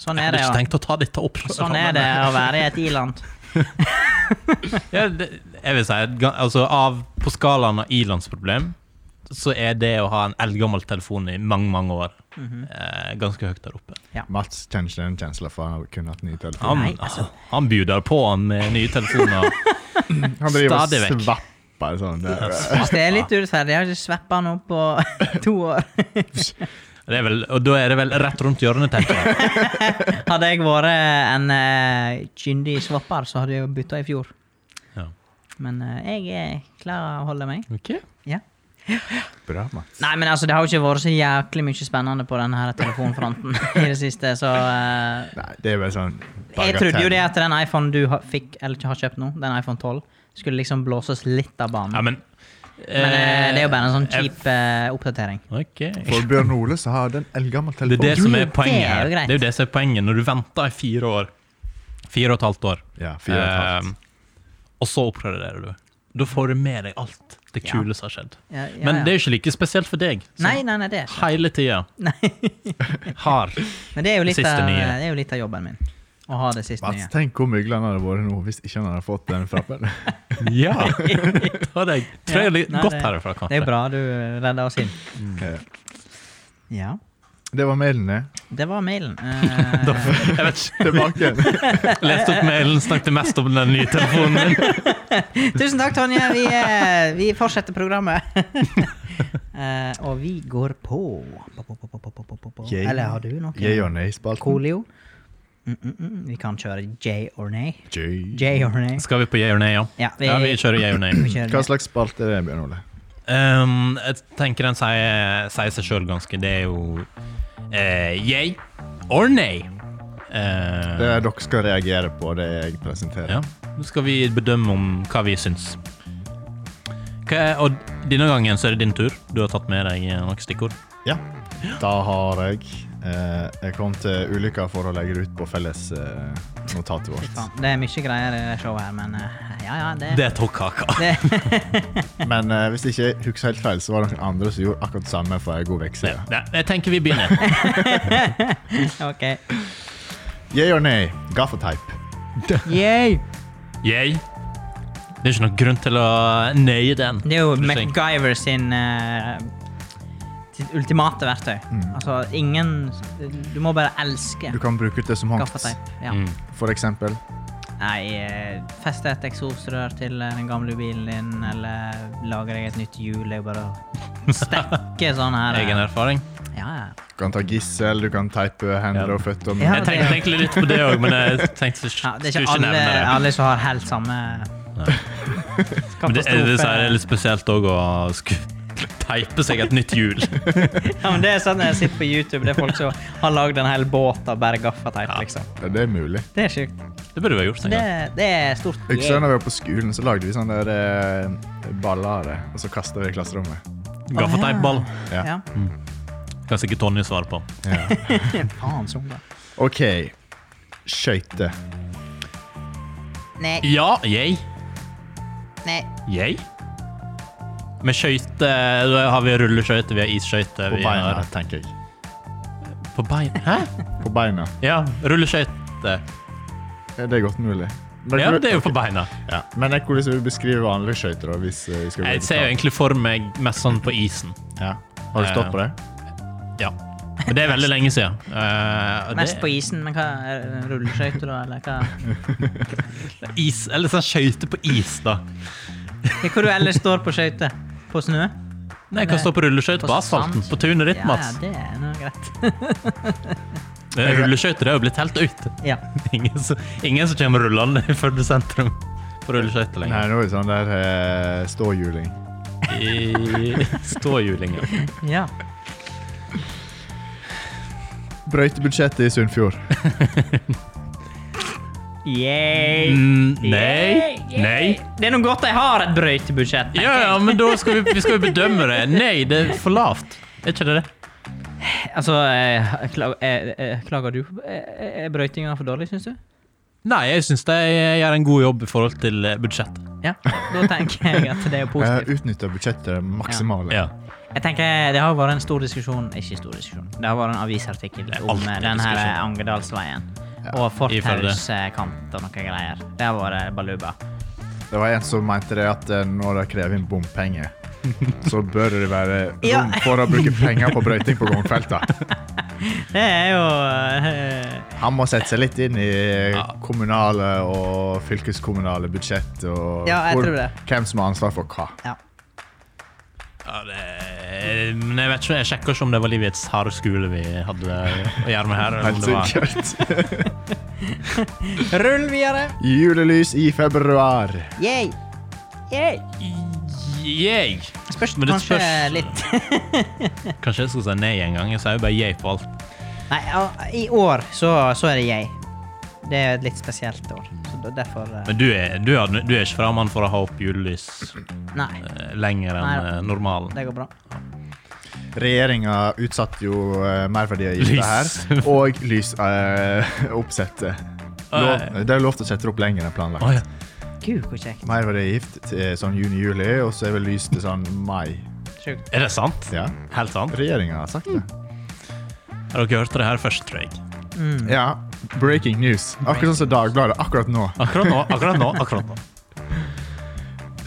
Speaker 3: sånn
Speaker 1: Jeg
Speaker 3: er
Speaker 1: hadde
Speaker 3: det.
Speaker 1: ikke
Speaker 3: å-
Speaker 1: tenkt å ta dette opp.
Speaker 3: Sånn er det å være i et i-land.
Speaker 1: Ja, det, jeg vil si, at ga- altså av, På skalaen av ilandsproblem så er det å ha en eldgammel telefon i mange mange år
Speaker 3: Mhm.
Speaker 1: eh, ganske høyt der oppe.
Speaker 4: Mats kjenner ikke den kjensla for han har kun hatt ny telefon.
Speaker 1: Han,
Speaker 3: Nei, altså.
Speaker 1: han bjuder på han med nye telefoner.
Speaker 4: Han driver
Speaker 1: stadig
Speaker 4: og
Speaker 1: vekk.
Speaker 4: svapper sånn. Der.
Speaker 3: Synes det er litt urettferdig. Jeg har ikke sveppa han opp på to år.
Speaker 1: Det er vel, og da er det vel rett rundt hjørnet, tenker jeg.
Speaker 3: Hadde jeg vært en eh, kyndig svapper, så hadde jeg jo bytta i fjor.
Speaker 1: Ja.
Speaker 3: Men eh, jeg er klar å holde meg. Ja.
Speaker 4: Bra, Mats.
Speaker 3: Nei, men altså, det har jo ikke vært så jæklig mye spennende på denne her telefonfronten i det siste, så eh,
Speaker 4: Nei, det er bare sånn
Speaker 3: Jeg trodde jo det
Speaker 4: bagatell.
Speaker 3: at den iPhone du har, fikk, eller ikke har kjøpt nå, den iPhone 12, skulle liksom blåses litt av banen.
Speaker 1: Ja, men
Speaker 3: Men eh, det er jo bare en sånn
Speaker 1: eh,
Speaker 3: kjip eh, oppdatering.
Speaker 1: Ok.
Speaker 4: For Bjørn Ole så har den eldgammel
Speaker 1: Det er
Speaker 4: telefon.
Speaker 1: det som er
Speaker 3: det er
Speaker 1: poenget her.
Speaker 3: jo greit.
Speaker 1: Det er jo det som er poenget når du venter i fire år. Fire og et halvt år.
Speaker 4: Ja, fire og et halvt.
Speaker 1: Eh, og så oppgraderer du. Da får du med deg alt det
Speaker 3: Ja.
Speaker 1: kule som har skjedd.
Speaker 3: Ja, ja,
Speaker 1: Men
Speaker 3: ja.
Speaker 1: det er jo ikke like spesielt for deg. som
Speaker 3: Nei, nei, nei, det er ikke
Speaker 1: Hele tida
Speaker 3: Nei.
Speaker 1: har
Speaker 3: Men det er jo litt,
Speaker 1: Siste
Speaker 3: av,
Speaker 1: nye.
Speaker 3: det er jo litt av jobben min. Å ha det siste
Speaker 4: Mats,
Speaker 3: nye.
Speaker 4: tenk hvor mygla han hadde vært nå hvis ikke han hadde fått den frappen.
Speaker 1: Ja! Ta deg
Speaker 3: Ja,
Speaker 1: trøy
Speaker 3: nei,
Speaker 1: godt
Speaker 3: det-
Speaker 1: herfra,
Speaker 3: Det er
Speaker 1: kanskje.
Speaker 3: jo bra du redda oss inn.
Speaker 4: Ok.
Speaker 3: Ja.
Speaker 4: Eh, Det var mailen, det.
Speaker 3: Det var mailen. Eh,
Speaker 1: Jeg vet ikke.
Speaker 4: Tilbake igjen.
Speaker 1: Leste opp mailen, snakket mest om den nye telefonen min.
Speaker 3: tusen takk, Tonje. Vi, eh, vi fortsetter programmet. Eh, og vi går på. på, på, på, på, på, på, på, på.
Speaker 4: Yay.
Speaker 3: Eller har du noe?
Speaker 4: Yay or nay-spalten.
Speaker 3: Coolio? Mm, mm, mm. Vi kan kjøre J or nay.
Speaker 4: Jay.
Speaker 3: J or nay.
Speaker 1: Skal vi på yeah or nay, ja?
Speaker 3: Ja, vi-
Speaker 1: Ja, vi kjører yeah or nay.
Speaker 3: Vi kjører
Speaker 4: Hva
Speaker 3: det.
Speaker 4: slags spalte er det, Bjørn Ole?
Speaker 1: Ehm, jeg tenker den sier, sier seg sjøl ganske. Det er jo eh, yay or nay. Eh,
Speaker 4: Det er dere skal reagere på det jeg presenterer.
Speaker 1: ja. Nå skal vi bedømme om hva vi syns. Hva er, og denne gangen så er det din tur. Du har tatt med deg eh, noen stikkord.
Speaker 4: Ja. Da har jeg eh, Jeg kom til ulykka for å legge det ut på felles eh, notatet
Speaker 3: Fy
Speaker 4: vårt.
Speaker 3: faen, Det er mye greier i det showet her, men eh, ja, ja, det,
Speaker 1: Det tok kaka.
Speaker 3: det
Speaker 4: Men eh, hvis jeg ikke husker helt feil, så var det noen andre som gjorde akkurat det samme for en god vekse.
Speaker 1: Nei, jeg tenker vi begynner.
Speaker 3: OK.
Speaker 4: Yeah or nay? Gaffateip.
Speaker 3: Yay!
Speaker 1: Yay. Det er ikke noen grunn til å nøye den.
Speaker 3: Det er jo
Speaker 1: Du tenker-
Speaker 3: MacGyver sin eh, sitt ultimate verktøy. Altså, ingen Du må bare elske
Speaker 4: Mm. Du kan bruke det som hånds.
Speaker 3: gaffateip. Ja.
Speaker 1: Mm.
Speaker 4: For eksempel.
Speaker 3: Nei, eh, feste et eksosrør til eh, den gamle bilen din, eller lage deg et nytt hjul. Det er jo bare å stekke sånn her. eh.
Speaker 1: Egen erfaring.
Speaker 3: Ja, ja.
Speaker 4: Du kan ta gissel, du kan teipe hender
Speaker 1: Ja.
Speaker 4: og føtter.
Speaker 3: Ja,
Speaker 1: Jeg tenkte egentlig litt på det òg, men jeg tenkte ikke,
Speaker 3: ja. Det er
Speaker 1: skulle
Speaker 3: ikke alle,
Speaker 1: nevne det.
Speaker 3: alle som har helt samme
Speaker 1: Men det, er det, så er det
Speaker 3: katastrofe.
Speaker 1: litt spesielt òg å skulle teipe seg et nytt hjul.
Speaker 3: Ja, men det er sånn jeg sitter på YouTube. Det er folk som har lagd en hel båt av bare gaffateip.
Speaker 1: Ja.
Speaker 3: liksom.
Speaker 4: Ja, det er mulig.
Speaker 3: Det er sjukt.
Speaker 1: Det burde vi ha gjort en
Speaker 3: Det,
Speaker 1: gang.
Speaker 3: det er stort.
Speaker 4: Jeg husker da vi var på skolen, så lagde vi sånne der, eh, baller av det, og så kasta vi i klasserommet.
Speaker 1: Gaffateipball
Speaker 4: Ja.
Speaker 3: Ja.
Speaker 1: kan sikkert Tonje svare på.
Speaker 3: Faen, sånn da.
Speaker 4: OK. Skøyter.
Speaker 3: Nei,
Speaker 1: Ja, jeg.
Speaker 3: nei.
Speaker 1: Jeg. Med skøyter da har vi rulleskøyter, vi har isskøyter.
Speaker 4: På
Speaker 1: vi
Speaker 4: beina,
Speaker 1: har-
Speaker 4: tenker jeg.
Speaker 1: På bein. Hæ?
Speaker 4: På beina.
Speaker 1: Ja, rulleskøyter.
Speaker 4: Er det godt mulig?
Speaker 1: Ja, det er jo på beina.
Speaker 4: Ja. Men jeg, hvordan vil du beskrive vanlige skøyter? da, hvis eh, vi skal gå i
Speaker 1: Jeg ser jo
Speaker 4: detalj?
Speaker 1: egentlig for meg mest sånn på isen.
Speaker 4: ja. Har du stått på det?
Speaker 1: Ja. Men det er veldig lenge siden. Eh, og
Speaker 3: Mest på
Speaker 1: det,
Speaker 3: isen, men hva er det rulleskøyter, da? Eller hva?
Speaker 1: is. Eller sånn skøyter på is, da.
Speaker 3: Ja, Hvor du ellers står på skøyter? På snø?
Speaker 1: Nei, jeg kan stå på rulleskøyter på asfalten. På tunet ditt,
Speaker 3: Ja,
Speaker 1: Mats.
Speaker 3: det er nå greit.
Speaker 1: Eh, Rulleskøyter er jo blitt helt ute.
Speaker 3: Ja.
Speaker 1: Ingen som, ingen som kommer rullende i Førde sentrum på rulleskøyter
Speaker 4: Nei,
Speaker 1: lenger.
Speaker 4: nå er det sånn der eh, ståhjuling.
Speaker 1: I ståhjuling, ja.
Speaker 3: ja.
Speaker 4: Brøytebudsjettet i Sunnfjord.
Speaker 3: Yay!
Speaker 1: Mm, nei. Nei.
Speaker 3: Det er noe godt jeg har et brøytebudsjett.
Speaker 1: Ja, ja, men da skal vi, vi skal jo bedømme det. Nei, det er for lavt. Er ikke det det?
Speaker 3: Altså, eh, klag, eh, eh, klager du på eh, eh, Er brøytinga for dårlig, syns du?
Speaker 1: Nei, jeg syns de eh, gjør en god jobb i forhold til eh, budsjettet.
Speaker 3: Ja. Da tenker jeg at det er
Speaker 4: Jeg
Speaker 3: positivt.
Speaker 4: utnytta Eh, budsjettet maksimalt.
Speaker 1: Ja.
Speaker 3: Jeg tenker Det har vært en stor diskusjon Ikke stor diskusjon. Det har vært en avisartikkel
Speaker 1: Det er
Speaker 3: om
Speaker 1: alltid
Speaker 3: eh, den her
Speaker 1: diskusjon.
Speaker 3: Angedalsveien. Og fortauskant og noe greier. Det har vært baluba.
Speaker 4: Det var en som mente det at eh, når de krever inn bompenger, så bør det være
Speaker 3: Ja.
Speaker 4: rom for å bruke penger på brøyting på gangfeltene.
Speaker 3: Det er jo eh,
Speaker 4: Han må sette seg litt inn i
Speaker 1: Ja.
Speaker 4: kommunale og fylkeskommunale budsjett og
Speaker 3: Ja, jeg tror det.
Speaker 4: hvem som har ansvar for hva.
Speaker 3: Ja.
Speaker 1: Ja, det er- men jeg vet ikke, jeg sjekker ikke om det var livets harde skole vi hadde å gjøre med her. Eller om
Speaker 4: Helt
Speaker 1: det var.
Speaker 4: sikkert.
Speaker 3: Rull videre!
Speaker 4: Julelys i februar.
Speaker 3: Yay! Yay!
Speaker 1: Jeg
Speaker 3: Spørs
Speaker 1: Men det
Speaker 3: kanskje
Speaker 1: spørs-
Speaker 3: litt
Speaker 1: Kanskje jeg skal si nei en gang. Jeg sier jo bare jeg på alt.
Speaker 3: Nei, ja, i år så, så er det jeg. Det er et litt spesielt år. Så da- derfor eh,
Speaker 1: Men du er, du er, du er ikke fremmed for å ha opp julelys
Speaker 3: Nei,
Speaker 1: eh, lenger enn
Speaker 3: Nei.
Speaker 1: eh, normalen.
Speaker 3: det går bra.
Speaker 4: Regjeringa utsatte jo eh, merverdiavgifta
Speaker 1: Lys.
Speaker 4: her, og eh, lysoppsettet. Uh, det er lov til å sette det opp lenger enn planlagt.
Speaker 1: Å, ja.
Speaker 3: Gud, hvor
Speaker 1: Mm.
Speaker 3: kjekt.
Speaker 4: Mai var det gift til sånn juni-juli, og så er vel lys til sånn mai.
Speaker 3: Sjukt.
Speaker 1: Er det sant?
Speaker 4: Ja.
Speaker 1: Helt sant?
Speaker 4: Regjeringa har sagt det.
Speaker 1: Har dere hørt det her først, tror jeg.
Speaker 4: Ja. Breaking news. Akkurat sånn som Dagbladet akkurat nå.
Speaker 1: Akkurat nå, akkurat nå, akkurat nå.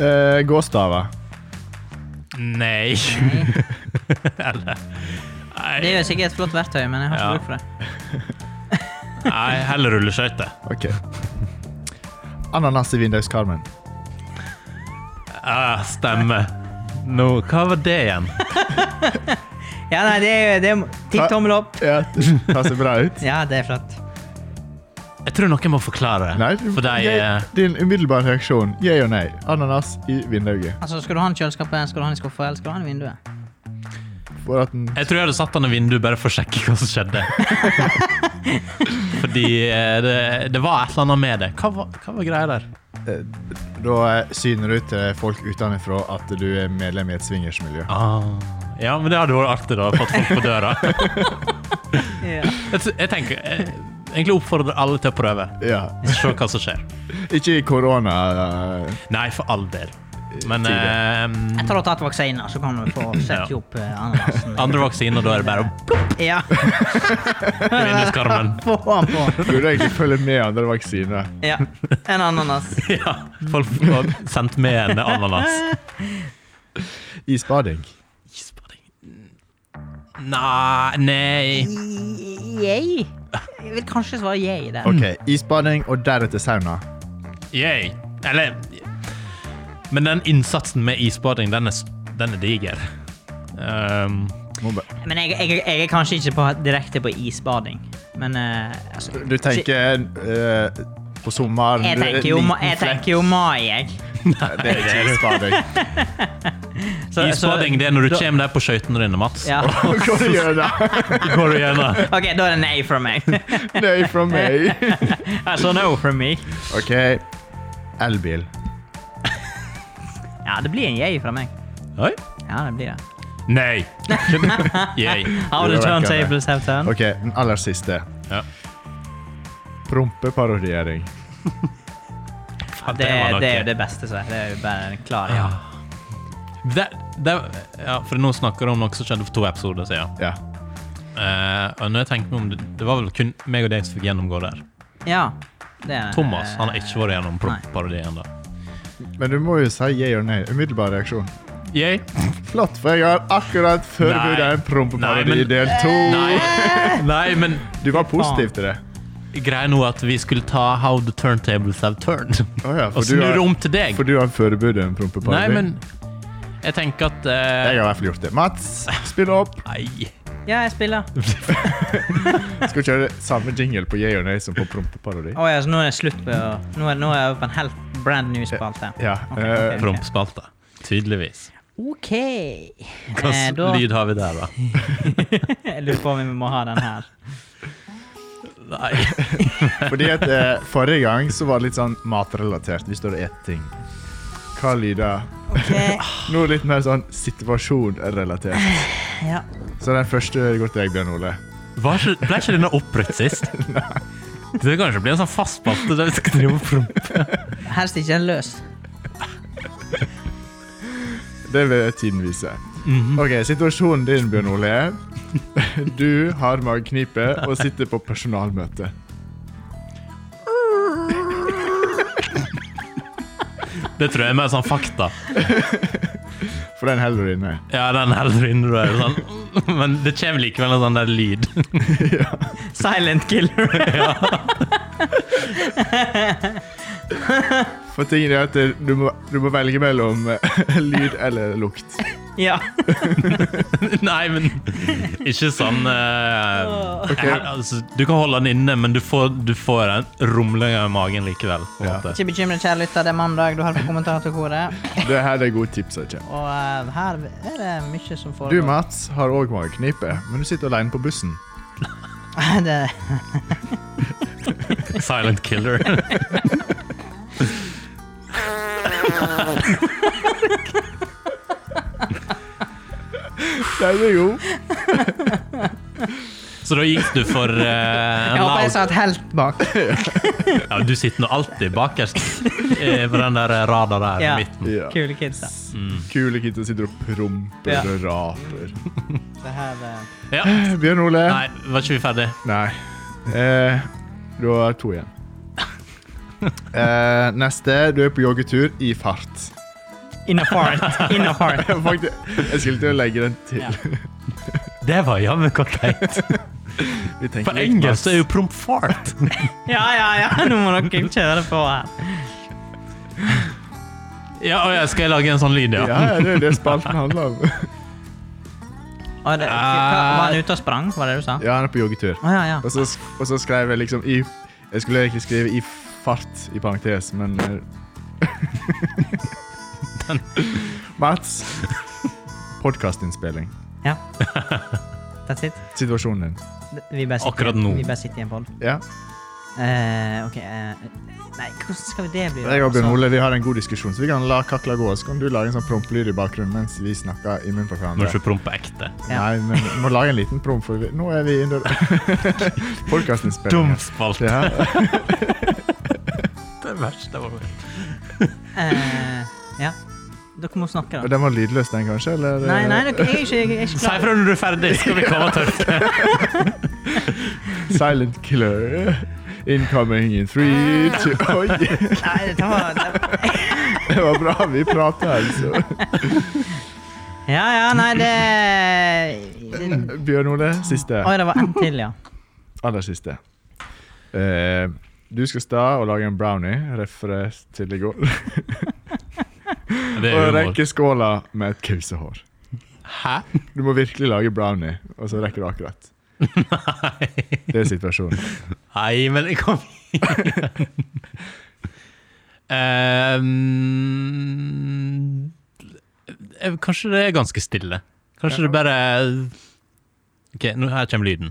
Speaker 4: Eh, gåstaver.
Speaker 1: Nei. Eller
Speaker 3: Det
Speaker 1: Nei,
Speaker 3: er jo sikkert et flott verktøy, men jeg har ikke
Speaker 1: Ja.
Speaker 3: bruk for det.
Speaker 1: nei heller rulleskøyter.
Speaker 4: OK. Ananas i vinduskarmen.
Speaker 1: Ja, stemmer. Nå, hva var det igjen?
Speaker 3: Ja, nei, det er jo det er, Tipp tommel opp.
Speaker 4: Ja, det ser bra ut.
Speaker 3: Ja, det er flott.
Speaker 1: Jeg tror noen må forklare.
Speaker 4: Nei,
Speaker 1: For de
Speaker 4: jeg-
Speaker 1: eh,
Speaker 4: Din umiddelbare reaksjon. Ja og nei. Ananas i vinduet.
Speaker 3: Altså, Skal du ha den i kjøleskapet, skal du ha den i skuffa, eller skal du ha den i vinduet?
Speaker 4: For at den
Speaker 1: Jeg tror jeg hadde satt han i vinduet bare for å sjekke hva som skjedde. Fordi eh, det, det var et eller annet med det. Hva var, hva var greia der?
Speaker 4: eh, Da eh, syner du til folk utenfra at du er medlem i et swingersmiljø.
Speaker 1: Ah, ja, men det hadde vært artig, da. Fått folk på døra.
Speaker 3: Ja.
Speaker 1: Jeg, t- jeg tenker jeg, Egentlig oppfordrer alle til å prøve.
Speaker 4: Ja.
Speaker 1: Se hva som skjer.
Speaker 4: Ikke i korona. eh,
Speaker 1: Nei, for all del. Men
Speaker 3: Jeg
Speaker 1: eh,
Speaker 3: tar og tatt vaksiner, så kan du få sette
Speaker 1: Ja.
Speaker 3: opp eh, ananasen.
Speaker 1: andre vaksiner, da er det bare å
Speaker 3: Ja,
Speaker 1: plukke vinduskarmen.
Speaker 3: få den på.
Speaker 4: Burde egentlig følge med andre vaksiner.
Speaker 3: Ja, en ananas.
Speaker 1: Ja, folk får sendt med en ananas.
Speaker 4: Isbading.
Speaker 1: Isbading Nei, nei.
Speaker 3: Yay. Jeg vil kanskje svare yay der.
Speaker 4: Ok, Isbading og deretter sauna.
Speaker 1: Yay. Eller Men den innsatsen med isbading, den er, s- den er diger. Ehm,
Speaker 4: Må ba-
Speaker 3: Men jeg, jeg, jeg er kanskje ikke på, direkte på isbading. Men eh, altså,
Speaker 4: Du tenker eh, på sommeren
Speaker 3: jeg
Speaker 4: du er en
Speaker 3: tenker jo, ma-
Speaker 4: liten
Speaker 3: jeg
Speaker 4: flekk.
Speaker 3: tenker jo mai, jeg.
Speaker 4: Det er ikke isbading.
Speaker 3: Så-
Speaker 1: isbading det er når du kommer der på skøytene dine, Mats.
Speaker 3: Ja.
Speaker 4: Hva du gjør da?
Speaker 1: Går du gjennom.
Speaker 3: OK, da er det nei fra meg.
Speaker 4: Nei, fra meg.
Speaker 3: altså no from me.
Speaker 4: Ok, elbil.
Speaker 3: Ja, det blir en yay fra meg.
Speaker 1: Oi.
Speaker 3: Ja, det blir det.
Speaker 1: Nei. Yay.
Speaker 3: How the
Speaker 4: Det var
Speaker 3: turntables have turned.
Speaker 4: Ok, den aller siste.
Speaker 1: Ja.
Speaker 4: Prompeparodiering.
Speaker 1: Ja,
Speaker 3: Det,
Speaker 1: var
Speaker 3: det er
Speaker 1: noe.
Speaker 3: jo det beste, så det er jo bare en klar ja.
Speaker 1: Det, det, ja, for nå snakker du om noe som skjedde for to episoder siden.
Speaker 4: Ja.
Speaker 1: Eh, og når jeg tenker meg om det, det var vel kun meg og deg som fikk gjennomgå der.
Speaker 3: Ja, det er
Speaker 1: Thomas han har ikke vært gjennom
Speaker 3: Nei.
Speaker 1: parodien. da.
Speaker 4: Men du må jo si ja og nei. Umiddelbar reaksjon.
Speaker 1: Yay.
Speaker 4: Flott, for jeg har akkurat forberedt
Speaker 1: Nei.
Speaker 4: en prompeparodi
Speaker 1: Nei,
Speaker 4: i
Speaker 1: men-
Speaker 4: del to.
Speaker 1: Nei. Nei, men
Speaker 4: Du var positiv til det.
Speaker 1: greia nå er at vi skulle ta How the Turntables Have Turned.
Speaker 4: Å ja, for
Speaker 1: og
Speaker 4: du
Speaker 1: snu
Speaker 4: har-
Speaker 1: det Altså, om til deg.
Speaker 4: For du har forberedt en prompeparodi.
Speaker 1: Nei, men jeg tenker at eh,
Speaker 4: Jeg har i hvert fall gjort det. Mats, spill opp.
Speaker 1: Nei.
Speaker 3: Ja, jeg spiller.
Speaker 4: Skal vi kjøre samme jingle på Yay og Nay som på prompeparodi.
Speaker 3: Å ja, så nå er det slutt på Nå er, nå er jeg over på en helt brand new spalte.
Speaker 4: Ja.
Speaker 3: Ok,
Speaker 4: eh,
Speaker 3: ok.
Speaker 1: Prompespalta. Tydeligvis.
Speaker 3: OK.
Speaker 1: Hva
Speaker 3: Eh, da
Speaker 1: lyd har vi der, da?
Speaker 3: Jeg lurer på om vi må ha den her.
Speaker 1: Nei.
Speaker 4: fordi at eh, forrige gang så var det litt sånn matrelatert. Vi står og spiser ting. Hva lyder
Speaker 3: OK.
Speaker 4: Nå er det litt mer sånn situasjonrelatert.
Speaker 3: Ja.
Speaker 4: Så den første går til deg, Bjørn Ole.
Speaker 1: Var ikke, ble ikke denne oppbrutt sist? Det kan kanskje bli en sånn fast spalte der vi skal drive og prompe.
Speaker 3: Helst ikke en løs.
Speaker 4: Det vil tiden vise.
Speaker 3: Mhm.
Speaker 4: Ok, Situasjonen din, Bjørn Ole, er du har mageknipe og sitter på personalmøte.
Speaker 1: Det tror jeg er mer sånn fakta.
Speaker 4: For den holder du inne.
Speaker 1: Ja, den holder inne, du er sånn. Men det kommer likevel en sånn der lyd.
Speaker 3: Silent killer.
Speaker 4: For tingen er at du må, du må velge mellom eh, lyd eller lukt.
Speaker 3: ja.
Speaker 1: Nei, men ikke sånn eh,
Speaker 4: Ok.
Speaker 1: her, altså, Du kan holde den inne, men du får, du får en rumling av magen likevel. På en
Speaker 4: Ja.
Speaker 1: måte.
Speaker 3: Ikke bekymret, kjære lytter. Det er mandag, du har på kommentatorkoret.
Speaker 4: Det her er gode tips. Ikke?
Speaker 3: Og eh, her er det mye som
Speaker 4: Du,
Speaker 3: foregår.
Speaker 4: Mats, har òg mageknipe, men du sitter alene på bussen.
Speaker 3: det,
Speaker 1: Silent killer.
Speaker 4: Den er god.
Speaker 1: Så da gikk du for eh, en
Speaker 3: jeg håper jeg
Speaker 1: loud
Speaker 3: satt helt bak.
Speaker 1: ja, Du sitter nå alltid bakerst. eh, på den der rada der
Speaker 3: Ja.
Speaker 1: i midten.
Speaker 4: Ja. Mm.
Speaker 3: Kule kids, da.
Speaker 4: Kule kitter sitter og promper
Speaker 3: Ja.
Speaker 4: og raper.
Speaker 3: Det her eh,
Speaker 1: Ja.
Speaker 4: Bjørn Ole.
Speaker 1: Nei, var ikke vi ferdig?
Speaker 4: Nei. Eh, du har to igjen. Eh, neste. Du er på joggetur i fart.
Speaker 3: In a fart. In a fart.
Speaker 4: Faktisk, jeg skulle til å legge den til.
Speaker 3: Ja.
Speaker 1: Det var jammen godt tenkt.
Speaker 4: Vi tenker
Speaker 1: På
Speaker 4: litt,
Speaker 1: engelsk så
Speaker 4: Mats.
Speaker 1: er jo promp fart.
Speaker 3: Ja, ja, ja. Nå må dere kjøre på her.
Speaker 1: Ja, og jeg skal lage en sånn lyd,
Speaker 4: ja.
Speaker 1: ja.
Speaker 4: ja, det er jo det spalten handler om.
Speaker 3: Og det, hva, var han ute og sprang, var det du sa? Å,
Speaker 4: Ah. Ja, han er på joggetur.
Speaker 3: ja, ja.
Speaker 4: Og så, og så skrev jeg liksom i Jeg skulle egentlig skrive i fart, i parentes, men eh, Mats. Podkastinnspilling.
Speaker 3: ja. That's it.
Speaker 4: Situasjonen din.
Speaker 3: Vi bare sitter,
Speaker 1: Akkurat nå.
Speaker 3: Vi bare sitter i en poll.
Speaker 4: Ja.
Speaker 3: Eh, ok. eh, nei, hvordan skal det bli? da?
Speaker 4: Jeg og Bjørn
Speaker 3: Altså,
Speaker 4: Ole vi har en god diskusjon, så vi kan la kakla gå. Så kan du lage en sånn promplyd i bakgrunnen mens vi snakker i munnen på
Speaker 1: Må
Speaker 4: hverandre.
Speaker 1: ikke prompe ekte.
Speaker 3: Ja.
Speaker 4: Nei, men vi må lage en liten promp, for vi, nå er vi under podkastinnspillingen.
Speaker 1: Dumspalt.
Speaker 4: Ja.
Speaker 1: Det verste var det.
Speaker 3: eh, ja. Dere må snakke,
Speaker 4: Og
Speaker 3: da.
Speaker 4: Den var lydløs, den, kanskje? Eller?
Speaker 3: Nei, nei, dere, jeg er ikke, jeg er ikke
Speaker 1: Si
Speaker 3: klar.
Speaker 1: fra når du er ferdig, skal vi komme tørt.
Speaker 4: Silent killer. Incoming in three
Speaker 3: Ah.
Speaker 4: two, Oi!
Speaker 3: Nei, dette var, det var
Speaker 4: Det var bra vi prata, altså.
Speaker 3: Ja, ja, nei, det
Speaker 4: Bjørn Ole, siste.
Speaker 3: Mm. Oi, det var en til, ja.
Speaker 4: Aller siste. Eh, du skal sta og lage en brownie, referert til i går,
Speaker 1: Det
Speaker 4: og
Speaker 1: er humor.
Speaker 4: rekke skåla med et kausehår.
Speaker 1: Hæ?
Speaker 4: Du må virkelig lage brownie, og så rekker du akkurat. Det er situasjonen.
Speaker 1: Nei, men jeg kom Eh, Ehm, eh, Kanskje det er ganske stille. Kanskje det bare OK, nå her kommer lyden.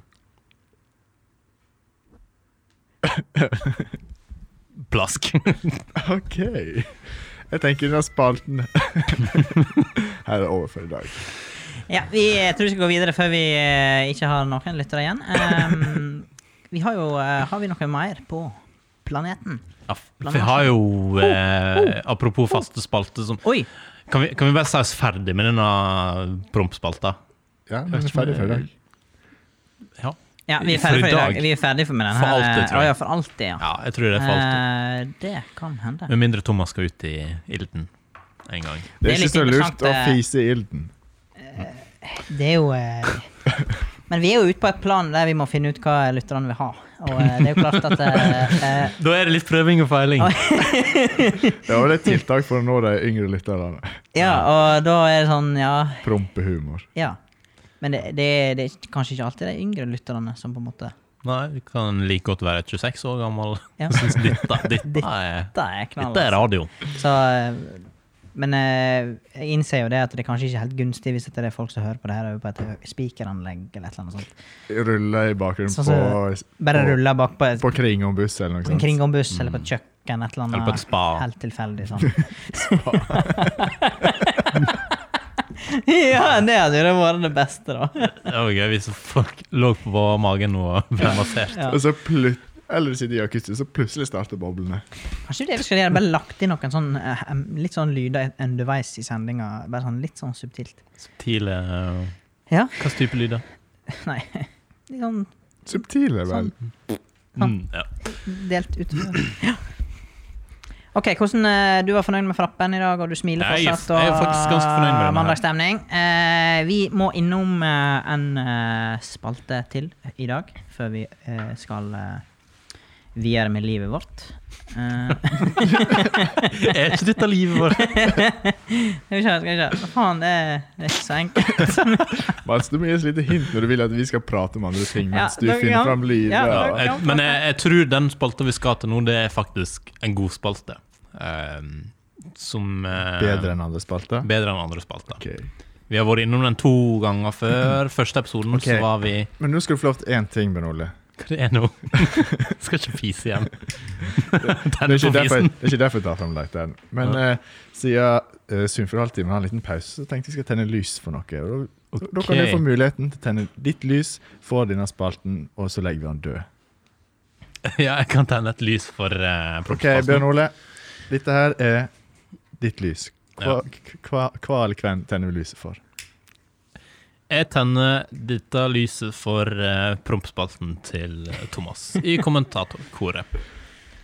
Speaker 1: Plask.
Speaker 4: OK. Jeg tenker denne spalten Her er det over for i dag.
Speaker 3: ja vi eh, tror vi skal gå videre før vi eh, ikke har noen lyttere igjen. Ehm, vi har jo eh, Har vi noe mer på planeten?
Speaker 1: Ja, for jeg har jo eh, Apropos faste spalte som
Speaker 3: Oi!
Speaker 1: kan vi, kan vi bare si oss ferdig med denne prompspalta?
Speaker 4: Ja, vi er ferdig for i dag.
Speaker 1: Ja.
Speaker 3: Ja, vi er
Speaker 1: For i
Speaker 3: ferdig for i dag.
Speaker 1: dag.
Speaker 3: Vi er ferdig for med den
Speaker 1: For
Speaker 3: her.
Speaker 1: alltid, tror jeg.
Speaker 3: Å, ja, for alltid, ja.
Speaker 1: ja, jeg tror det er for alltid.
Speaker 3: Eh, det kan hende.
Speaker 1: Med mindre Thomas skal ut i ilden en gang.
Speaker 4: Det
Speaker 3: Det er
Speaker 4: er ikke
Speaker 3: litt
Speaker 4: så
Speaker 3: interessant,
Speaker 4: lurt å
Speaker 3: eh,
Speaker 4: fise i ilden.
Speaker 3: Det er jo eh, Men vi er jo ute på et plan der vi må finne ut hva lytterne vil ha. Og eh, det er jo klart at eh, eh,
Speaker 1: Da er det litt prøving og feiling.
Speaker 4: Det var et tiltak for å nå de yngre lytterne.
Speaker 3: Ja, og da er det sånn, ja
Speaker 4: Prompehumor.
Speaker 3: Ja. Men det, det, det er kanskje ikke alltid de yngre lytterne som på en måte
Speaker 1: Nei, du kan like godt være 26 år gammel.
Speaker 3: Ja.
Speaker 1: Synes dette, dette, er,
Speaker 3: Det er knall.
Speaker 1: dette er radio.
Speaker 3: altså. Så eh, Men eh, jeg innser jo det at det kanskje ikke er helt gunstig hvis det er folk som hører på det her over på et hø- spikeranlegg eller et eller annet sånt.
Speaker 4: Rulle i bakgrunnen
Speaker 3: Sånn som- Bare
Speaker 4: på-
Speaker 3: ruller bakpå et
Speaker 4: på, på kring om buss eller noe
Speaker 3: en
Speaker 4: sånt.
Speaker 3: kringombuss eller på et kjøkken, et eller annet.
Speaker 1: Eller på et spa.
Speaker 3: Helt tilfeldig sånn. ja, det hadde jo vært det beste, da.
Speaker 1: Det var gøy hvis folk lå på magen nå og ble massert.
Speaker 3: Ja.
Speaker 4: Og så plut eller du sitter i jacuzzi, så plutselig starter boblene.
Speaker 3: Kanskje det vi skal gjøre, bare lagt inn noen sånn, eh, em, litt sånn lyder underveis i sendinga. Bare sånn litt sånn subtilt.
Speaker 1: Subtile eh,
Speaker 3: Ja.
Speaker 1: Hva slags type lyder?
Speaker 3: Nei. Litt sånn
Speaker 4: Subtile, vel.
Speaker 1: Mm, ja.
Speaker 3: delt utover. Ja. OK, hvordan eh, Du var fornøyd med frappen i dag, og du smiler
Speaker 1: Nei, jeg er f-
Speaker 3: fortsatt. Og
Speaker 1: jeg er faktisk ganske fornøyd med denne her.
Speaker 3: mandagsstemning. Eh, vi må innom eh, en eh, spalte til eh, i dag, før vi eh, skal eh, videre med livet vårt. Eh,
Speaker 1: Er ikke dette livet vårt?
Speaker 3: skal vi se, skal vi se. Hva faen, det er, det er ikke så enkelt.
Speaker 4: Mats, du må gi oss litt hint når du vil at vi skal prate om andre ting mens
Speaker 3: Ja,
Speaker 4: du
Speaker 3: da-
Speaker 4: finner
Speaker 3: ja.
Speaker 4: fram lyder.
Speaker 3: Ja, da-
Speaker 4: og-
Speaker 1: Eh, Men jeg, jeg tror den spalta vi skal til nå, det er faktisk en god spalte. Eh, som eh,
Speaker 4: Bedre enn andre spalter.
Speaker 1: bedre enn andre spalter.
Speaker 4: Ok.
Speaker 1: Vi har vært innom den to ganger før. Første episoden
Speaker 4: Ok.
Speaker 1: så var vi
Speaker 4: Men nå skal du få lov til én ting, Bjørn Ole.
Speaker 1: Hva det er nå? Skal ikke fise igjen.
Speaker 4: Det er
Speaker 1: Den på
Speaker 4: ikke derfor,
Speaker 1: fisen.
Speaker 4: det er ikke derfor jeg tar fram leiteren. Men
Speaker 1: Ja.
Speaker 4: eh, siden uh, Sunnfjord Halvtime har en liten pause, så tenkte jeg jeg skal tenne lys for noe. Og da, da kan du
Speaker 1: Ok.
Speaker 4: få muligheten til å tenne ditt lys, få denne spalten, og så legger vi den død.
Speaker 1: Ja, jeg kan tenne et lys for uh,
Speaker 4: OK, Bjørn Ole. Dette her er ditt lys. Hva,
Speaker 1: Ja.
Speaker 4: hva, hva eller hvem tenner vi lyset for?
Speaker 1: Jeg tenner dette lyset for eh, prompspalten til eh, Thomas i kommentatorkoret.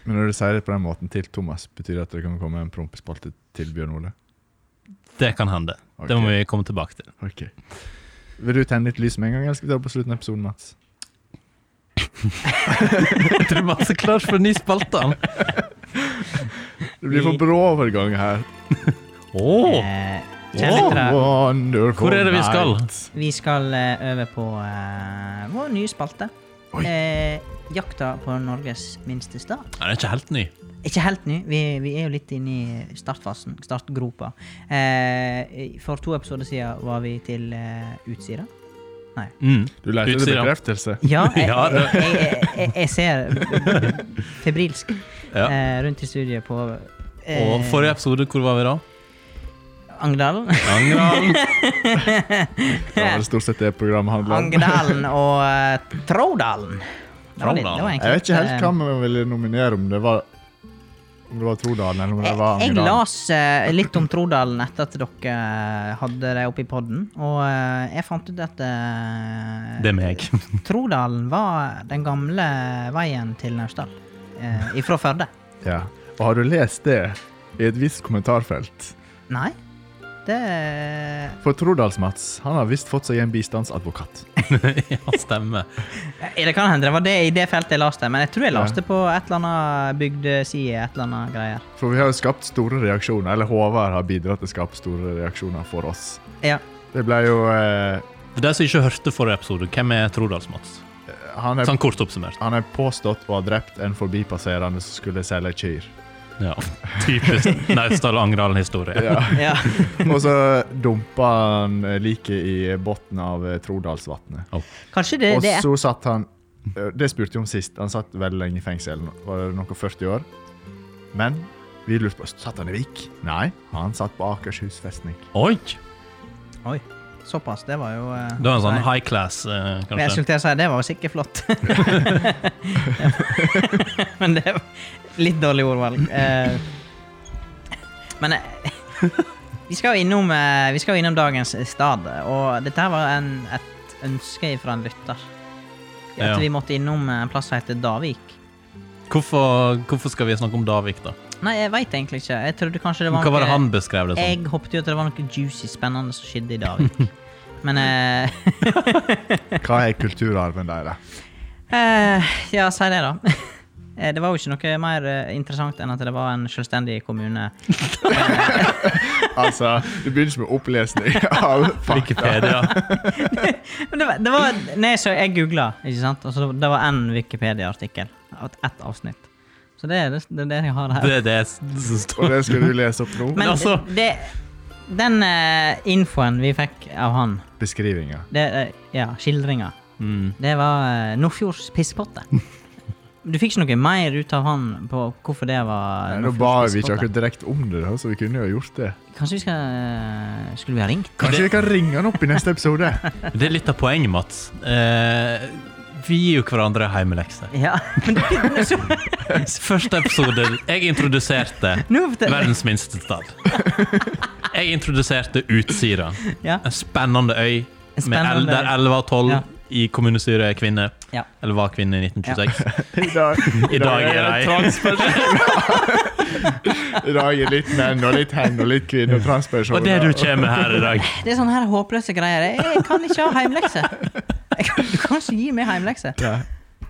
Speaker 4: Men når du sier det på den måten til Thomas, betyr det at det kan komme en prompespalte til Bjørn Ole?
Speaker 1: Det kan hende. Det må vi komme tilbake til.
Speaker 4: Ok. Vil du tenne litt lys med en gang, eller skal vi ta det på slutten av episoden, Mats?
Speaker 1: Jeg tror Mats er klar for en ny spalte. han.
Speaker 4: Det blir for brå overgang her.
Speaker 1: Åh,
Speaker 3: Eh,
Speaker 1: Åh,
Speaker 3: kjære lyttere,
Speaker 4: wonderful
Speaker 1: Hvor er det vi skal?
Speaker 4: night.
Speaker 3: vi skal eh, over på eh, vår nye spalte.
Speaker 4: Oi.
Speaker 3: Eh, jakta på Norges minste stat.
Speaker 1: Han er ikke helt ny.
Speaker 3: Ikke helt ny, vi, vi er jo litt inne i startfasen, startgropa. Eh, for to episoder siden var vi til eh, Utsira.
Speaker 1: Mm.
Speaker 4: Du leter etter
Speaker 1: Utsida.
Speaker 4: bekreftelse.
Speaker 3: Ja, jeg,
Speaker 1: Ja,
Speaker 3: jeg,
Speaker 1: det-
Speaker 3: jeg, jeg, jeg ser febrilsk
Speaker 1: Ja.
Speaker 3: eh, rundt i studiet på eh,
Speaker 1: Og forrige episode, hvor var vi da?
Speaker 3: Angerdalen.
Speaker 1: Angerdal.
Speaker 4: Det var det stort sett det programmet handler om.
Speaker 3: Angerdalen og eh, Trådalen. Det var litt- det var
Speaker 1: Trådalen.
Speaker 3: egentlig
Speaker 4: Jeg vet ikke helt
Speaker 3: litt,
Speaker 4: hva
Speaker 3: eh,
Speaker 4: vi ville nominere, om det var om det var Trodalen eller om det
Speaker 3: jeg,
Speaker 4: var
Speaker 3: eh, jeg
Speaker 4: Angerdal.
Speaker 3: las eh, litt om Trådalen etter at dere eh, hadde det oppe i podden, og eh, jeg fant ut at eh,
Speaker 1: Det er meg.
Speaker 3: Trådalen var den gamle veien til Naustdal. Eh, ifra Førde.
Speaker 4: Ja. Og har du lest det i et visst kommentarfelt?
Speaker 3: Nei, det eh,
Speaker 4: For Trodals-Mats han har visst fått seg en bistandsadvokat.
Speaker 1: Ja, stemmer.
Speaker 3: Eh, Det kan hende det var det i det feltet jeg leste, men jeg tror jeg
Speaker 4: Ja.
Speaker 3: leste på et eller annet bygdeside. et eller annet greier.
Speaker 4: For vi har jo skapt store reaksjoner, eller Håvard har bidratt til å skape store reaksjoner for oss.
Speaker 3: Ja.
Speaker 4: Det ble jo eh,
Speaker 1: For de som ikke hørte forrige episode, hvem er Trodals-Mats?
Speaker 4: han, er,
Speaker 1: Sånn kort oppsummert.
Speaker 4: han er påstått å ha drept en forbipasserende som skulle selge kyr.
Speaker 1: Ja, Typisk Naustdal-Angerdal-historie.
Speaker 4: Ja.
Speaker 3: ja.
Speaker 4: Og så dumpa han eh, liket i bunnen av eh, Trodalsvatnet.
Speaker 3: Kanskje det,
Speaker 4: Og
Speaker 3: det er
Speaker 4: så satt han eh, Det spurte jeg om sist. Han satt veldig lenge i fengsel. Var det noe 40 år? Men vi lurte på Satt han i Vik? Nei, han satt på Akershus festning.
Speaker 1: Oi!
Speaker 3: Oi, såpass. Det var jo eh,
Speaker 1: Det var en sånn
Speaker 3: nei.
Speaker 1: high class, eh,
Speaker 3: Men jeg
Speaker 1: kanskje.
Speaker 3: skulle til å si det var jo sikkert flott. men det var litt dårlig ordvalg. Eh, men eh, vi, skal jo innom, eh, vi skal jo innom dagens stad, og dette her var en, et ønske fra en lytter. At
Speaker 1: Ja.
Speaker 3: vi måtte innom eh, en plass som heter Davik.
Speaker 1: Hvorfor, hvorfor skal vi snakke om Davik, da?
Speaker 3: Nei, jeg veit egentlig ikke. Jeg trodde kanskje det var
Speaker 1: Hva var det
Speaker 3: noe-
Speaker 1: han beskrev det som?
Speaker 3: Jeg håpet jo at det var noe juicy, spennende som skjedde i Davik. Men eh,
Speaker 4: Hva er kulturarven deres?
Speaker 3: Eh, ja, si det, da. Eh, Det var jo ikke noe mer eh, interessant enn at det var en selvstendig kommune.
Speaker 4: Altså, det begynner ikke med opplesning av fakta.
Speaker 1: Wikipedia.
Speaker 3: Men det var, det var Nei, så jeg googla, ikke sant. Altså, det var én Wikipedia-artikkel. Ett et avsnitt. Så det er det, det, er det jeg har her.
Speaker 1: Det er det som står
Speaker 4: Og det skal du lese opp nå?
Speaker 1: Men
Speaker 3: Men
Speaker 1: altså-
Speaker 3: det, den eh, infoen vi fikk av han,
Speaker 4: Beskrivinga.
Speaker 3: det, eh, ja, skildringa,
Speaker 1: Mm.
Speaker 3: det var eh, Nordfjords pisspotte. Du fikk ikke noe mer ut av han på hvorfor det var
Speaker 4: Nå ba
Speaker 3: Nordfjords
Speaker 4: vi ikke
Speaker 3: pisspotte?
Speaker 4: akkurat direkte om det, da, så vi kunne jo ha gjort det.
Speaker 3: Kanskje vi skal eh, Skulle vi ha ringt?
Speaker 4: Kanskje vi kan ringe han opp i neste episode?
Speaker 1: Det er litt av poenget, Mats. Eh, vi gir jo hverandre heimelekser.
Speaker 3: Ja, men det begynner så
Speaker 1: Første episode Jeg introduserte
Speaker 3: Nå forteller
Speaker 1: verdens minste stad. Jeg introduserte Utsira.
Speaker 3: Ja.
Speaker 1: En spennende øy
Speaker 3: En
Speaker 1: med el,
Speaker 3: spennende
Speaker 1: der
Speaker 3: øy.
Speaker 1: 11 av 12
Speaker 3: Ja.
Speaker 1: i kommunestyret er kvinner.
Speaker 3: Ja.
Speaker 1: Eller var kvinner i 1926.
Speaker 4: I dag,
Speaker 1: I dag er
Speaker 4: det-
Speaker 1: de
Speaker 4: I dag er litt menn og litt hen og litt kvinne og transpersoner.
Speaker 1: Og det du kommer med her i dag
Speaker 3: Det er sånne her håpløse greier. Jeg- Jeg kan ikke ha heimlekse. Jeg kan, du kan ikke gi meg heimlekse.
Speaker 4: Ja.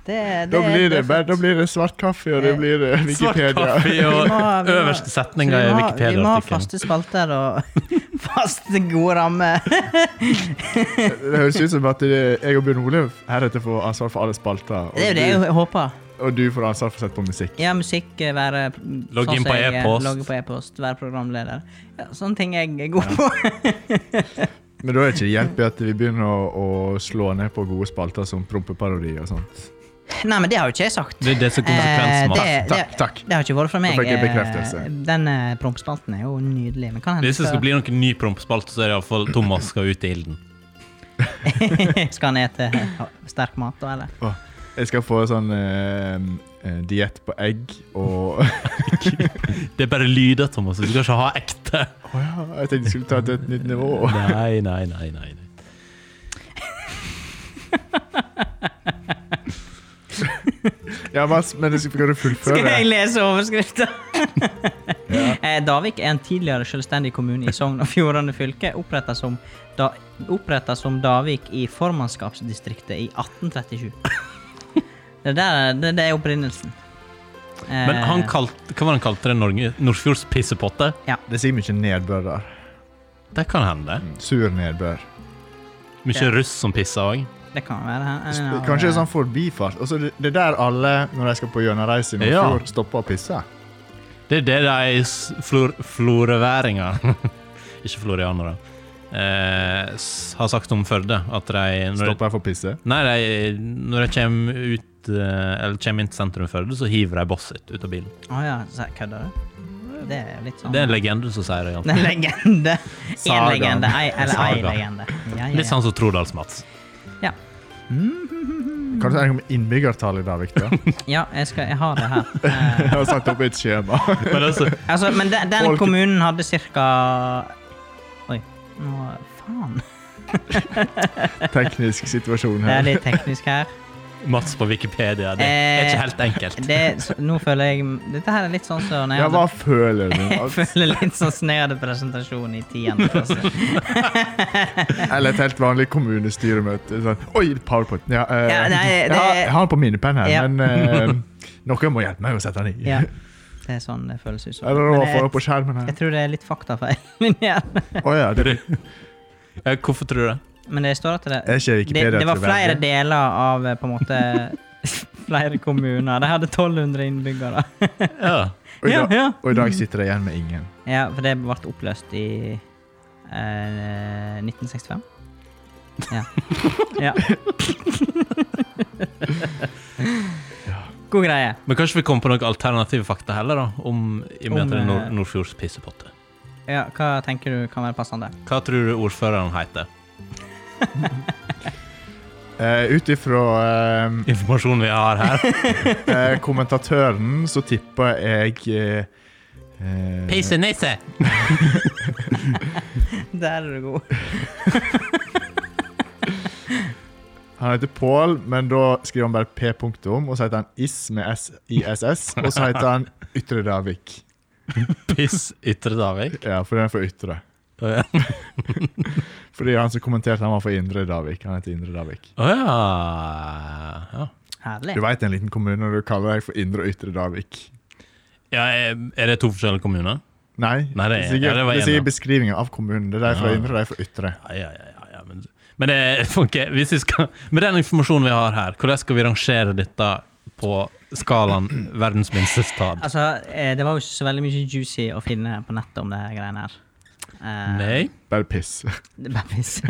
Speaker 3: Det, det,
Speaker 4: Da blir det,
Speaker 3: er
Speaker 4: bare- da
Speaker 3: fint.
Speaker 4: blir det svart kaffe, og det blir eh,
Speaker 1: Svart
Speaker 4: Wikipedia.
Speaker 1: kaffe
Speaker 3: Vi må ha-
Speaker 1: og
Speaker 3: vi må-
Speaker 1: øverste
Speaker 3: Så
Speaker 1: setninga
Speaker 3: vi
Speaker 1: i
Speaker 3: må, ha- vi må ha
Speaker 1: Wikipedia-artikkelen.
Speaker 3: faste spalter og faste, gode rammer.
Speaker 4: Det høres ut som at det- jeg og Bjørn Olav heretter får ansvar for alle spalter. Og,
Speaker 3: Det er jo det
Speaker 4: du,
Speaker 3: jeg håper.
Speaker 4: og du får ansvar for å sette på musikk.
Speaker 3: Ja, musikk, eh, være mm,
Speaker 1: Logg
Speaker 3: sånn
Speaker 1: inn
Speaker 3: som
Speaker 1: på
Speaker 3: jeg, eh,
Speaker 1: e-post.
Speaker 3: Logge på e-post, være programleder. Ja, sånne ting jeg er god på.
Speaker 4: Men da er det ikke hjelp i at vi begynner å, å slå ned på gode spalter som prompeparodi og sånt.
Speaker 3: Nei, men det har jo ikke jeg sagt.
Speaker 1: Det er det som er
Speaker 3: Eh,
Speaker 1: konsekvensen. Mats.
Speaker 3: det-
Speaker 4: Takk, takk.
Speaker 3: Det har ikke vært fra meg.
Speaker 4: fikk
Speaker 3: eh,
Speaker 4: jeg bekreftelse.
Speaker 3: Den eh, prompspalten er jo nydelig. Men kan hende
Speaker 1: Hvis det skal bli noen ny prompspalte, så er det iallfall Thomas skal ut i ilden.
Speaker 3: Skal han ete sterk mat da, eller?
Speaker 4: Åh. Jeg skal få sånn eh, eh, diett på egg og
Speaker 1: Det er bare lyder, Thomas. Du skal ikke ha ekte.
Speaker 4: Å ja, Jeg tenkte jeg skulle ta det til et nytt nivå.
Speaker 1: Nei, nei, nei, nei. nei.
Speaker 4: Ja, Mats, men jeg skal- kan du
Speaker 3: Skal
Speaker 4: fullføre?
Speaker 3: jeg lese overskriften? Eh, Davik er en tidligere selvstendig kommune i Sogn og Fjordane fylke, oppretta som, da, opprettet som Davik i formannskapsdistriktet i 1837. Det, der, det, det er opprinnelsen. Eh,
Speaker 1: Men han kalte, hva var han kalte det? Norge? Nordfjords pissepotte?
Speaker 4: Det sier mye nedbør der.
Speaker 1: Det kan hende.
Speaker 4: Sur nedbør.
Speaker 1: Mye
Speaker 3: Ja.
Speaker 1: russ som pisser òg.
Speaker 3: Det kan være han-
Speaker 4: Sp-
Speaker 3: han-
Speaker 4: Kanskje det er sånn forbifart. Altså, det, det er der alle, når de skal på gjennomreise i Nordfjord, stopper og pisser.
Speaker 1: Det er det de s- flor, floreværinger Ikke florianere. Eh, s- har sagt om Førde. At de når,
Speaker 4: Stopper jeg for å pisse?
Speaker 1: Nei, de, når de kommer ut eh, Eller kommer inn til sentrum i Førde, så hiver de bosset sitt ut av bilen.
Speaker 3: Å ja, så kødder du? Det er jo litt sånn
Speaker 1: sånn- Det er en legende som sier det.
Speaker 3: Det er en legende. Én
Speaker 4: Saga.
Speaker 3: legende, ei, eller ei
Speaker 1: Saga.
Speaker 3: legende. Ja,
Speaker 1: Litt
Speaker 3: ja,
Speaker 1: sånn som Trodals-Mats.
Speaker 3: ja. ja.
Speaker 4: Kan du si noe om innbyggertallet i dag, Victor?
Speaker 3: ja jeg, skal, jeg har det her. Eh,
Speaker 4: Jeg har satt opp et skjema.
Speaker 1: Men altså,
Speaker 3: Altså, men den, den
Speaker 4: Folk-
Speaker 3: kommunen hadde cirka Oi, nå Faen.
Speaker 4: Teknisk situasjon
Speaker 3: Det er
Speaker 4: her.
Speaker 3: litt teknisk her.
Speaker 1: Mats på Wikipedia, det er ikke helt enkelt.
Speaker 3: Eh, Det, så nå føler jeg Dette her er litt sånn som når
Speaker 4: Ja,
Speaker 3: jeg,
Speaker 4: hva
Speaker 3: hadde,
Speaker 4: føler du?
Speaker 3: jeg føler litt sånn som når jeg hadde presentasjon i 10. klasse.
Speaker 4: Eller et helt vanlig kommunestyremøte. Sånn, Oi, powerpoint. Ja, eh,
Speaker 3: Ja, nei, det-
Speaker 4: jeg, har, jeg har den på minnepenn her,
Speaker 3: Ja.
Speaker 4: men eh, noen må hjelpe meg å sette den i.
Speaker 3: Ja, det er sånn det føles ut som.
Speaker 4: Eller å
Speaker 3: Men
Speaker 4: få
Speaker 3: jeg,
Speaker 4: den på skjermen her.
Speaker 3: jeg tror det er litt faktafeil. min hjerne.
Speaker 4: Å ja, det
Speaker 1: Eh, Hvorfor tror du det?
Speaker 3: Men det står at det,
Speaker 4: er ikke
Speaker 3: det,
Speaker 4: Wikipedia
Speaker 3: det var flere
Speaker 4: troverdig.
Speaker 3: deler av eh, på en måte Flere kommuner. De hadde 1200 innbyggere.
Speaker 1: Ja.
Speaker 4: Og i
Speaker 3: Ja,
Speaker 4: dag-
Speaker 3: ja.
Speaker 4: Og i dag sitter jeg igjen med ingen.
Speaker 3: Ja, for det ble oppløst i eh, 1965. Ja. ja. God greie.
Speaker 1: Men kanskje vi kommer på noen alternative fakta heller, da? Om i og med at det er
Speaker 3: Om,
Speaker 1: nord,
Speaker 3: eh,
Speaker 1: Nordfjords pissepotte.
Speaker 3: Ja, hva tenker du kan være passende?
Speaker 1: Hva tror du ordføreren heter?
Speaker 4: Uh, Ut ifra eh,
Speaker 1: Informasjonen vi har her.
Speaker 4: eh, kommentatøren, så tipper jeg eh, eh,
Speaker 1: Pissenisse!
Speaker 3: Der er du god.
Speaker 4: Han heter Pål, men da skriver han bare P punktum, og så heter han Iss med S ISS, og så heter han Ytre Davik.
Speaker 1: Piss Ytre Davik.
Speaker 4: Ja, for den er for Ytre.
Speaker 1: Å ja.
Speaker 4: Fordi han som kommenterte, han var for Indre Davik. Han heter Indre Davik.
Speaker 1: Å ja. ja.
Speaker 3: Herlig.
Speaker 4: Du veit en liten kommune når du kaller deg for Indre og Ytre Davik.
Speaker 1: ja er- er det to forskjellige kommuner?
Speaker 4: Nei,
Speaker 1: Nei, det er-
Speaker 4: sier,
Speaker 1: ja, det var
Speaker 4: det
Speaker 1: en,
Speaker 4: sier
Speaker 1: ja.
Speaker 4: beskrivinga av kommunen. Det er de fra
Speaker 1: Ja.
Speaker 4: Indre, de er fra Ytre.
Speaker 1: Ja, ja, ja. ja, ja men men det, ok, hvis vi skal, med den informasjonen vi har her, hvordan skal vi rangere dette på skalaen verdens minste stad?
Speaker 3: Altså, eh, det var jo ikke så veldig mye juicy å finne på nettet om det her greiene her. Eh,
Speaker 1: Nei?
Speaker 4: Bare piss.
Speaker 3: Det er bare piss.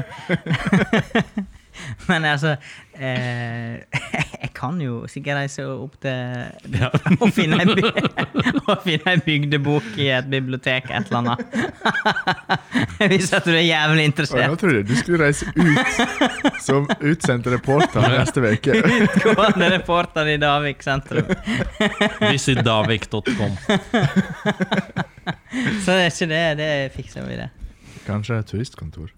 Speaker 3: Men altså eh, Jeg kan jo sikkert reise opp til
Speaker 1: Ja.
Speaker 3: Å finne ei by- å finne ei bygdebok i et bibliotek et eller annet. Hvis at du er jævlig
Speaker 4: Og nå
Speaker 3: interessert.
Speaker 4: trodde jeg du skulle reise ut som utsendt reporter neste uke.
Speaker 3: Utgående reporter i Davik sentrum.
Speaker 1: Visitdavik.com.
Speaker 3: Så det er ikke det. Det fikser vi, det.
Speaker 4: Kanskje turistkontor.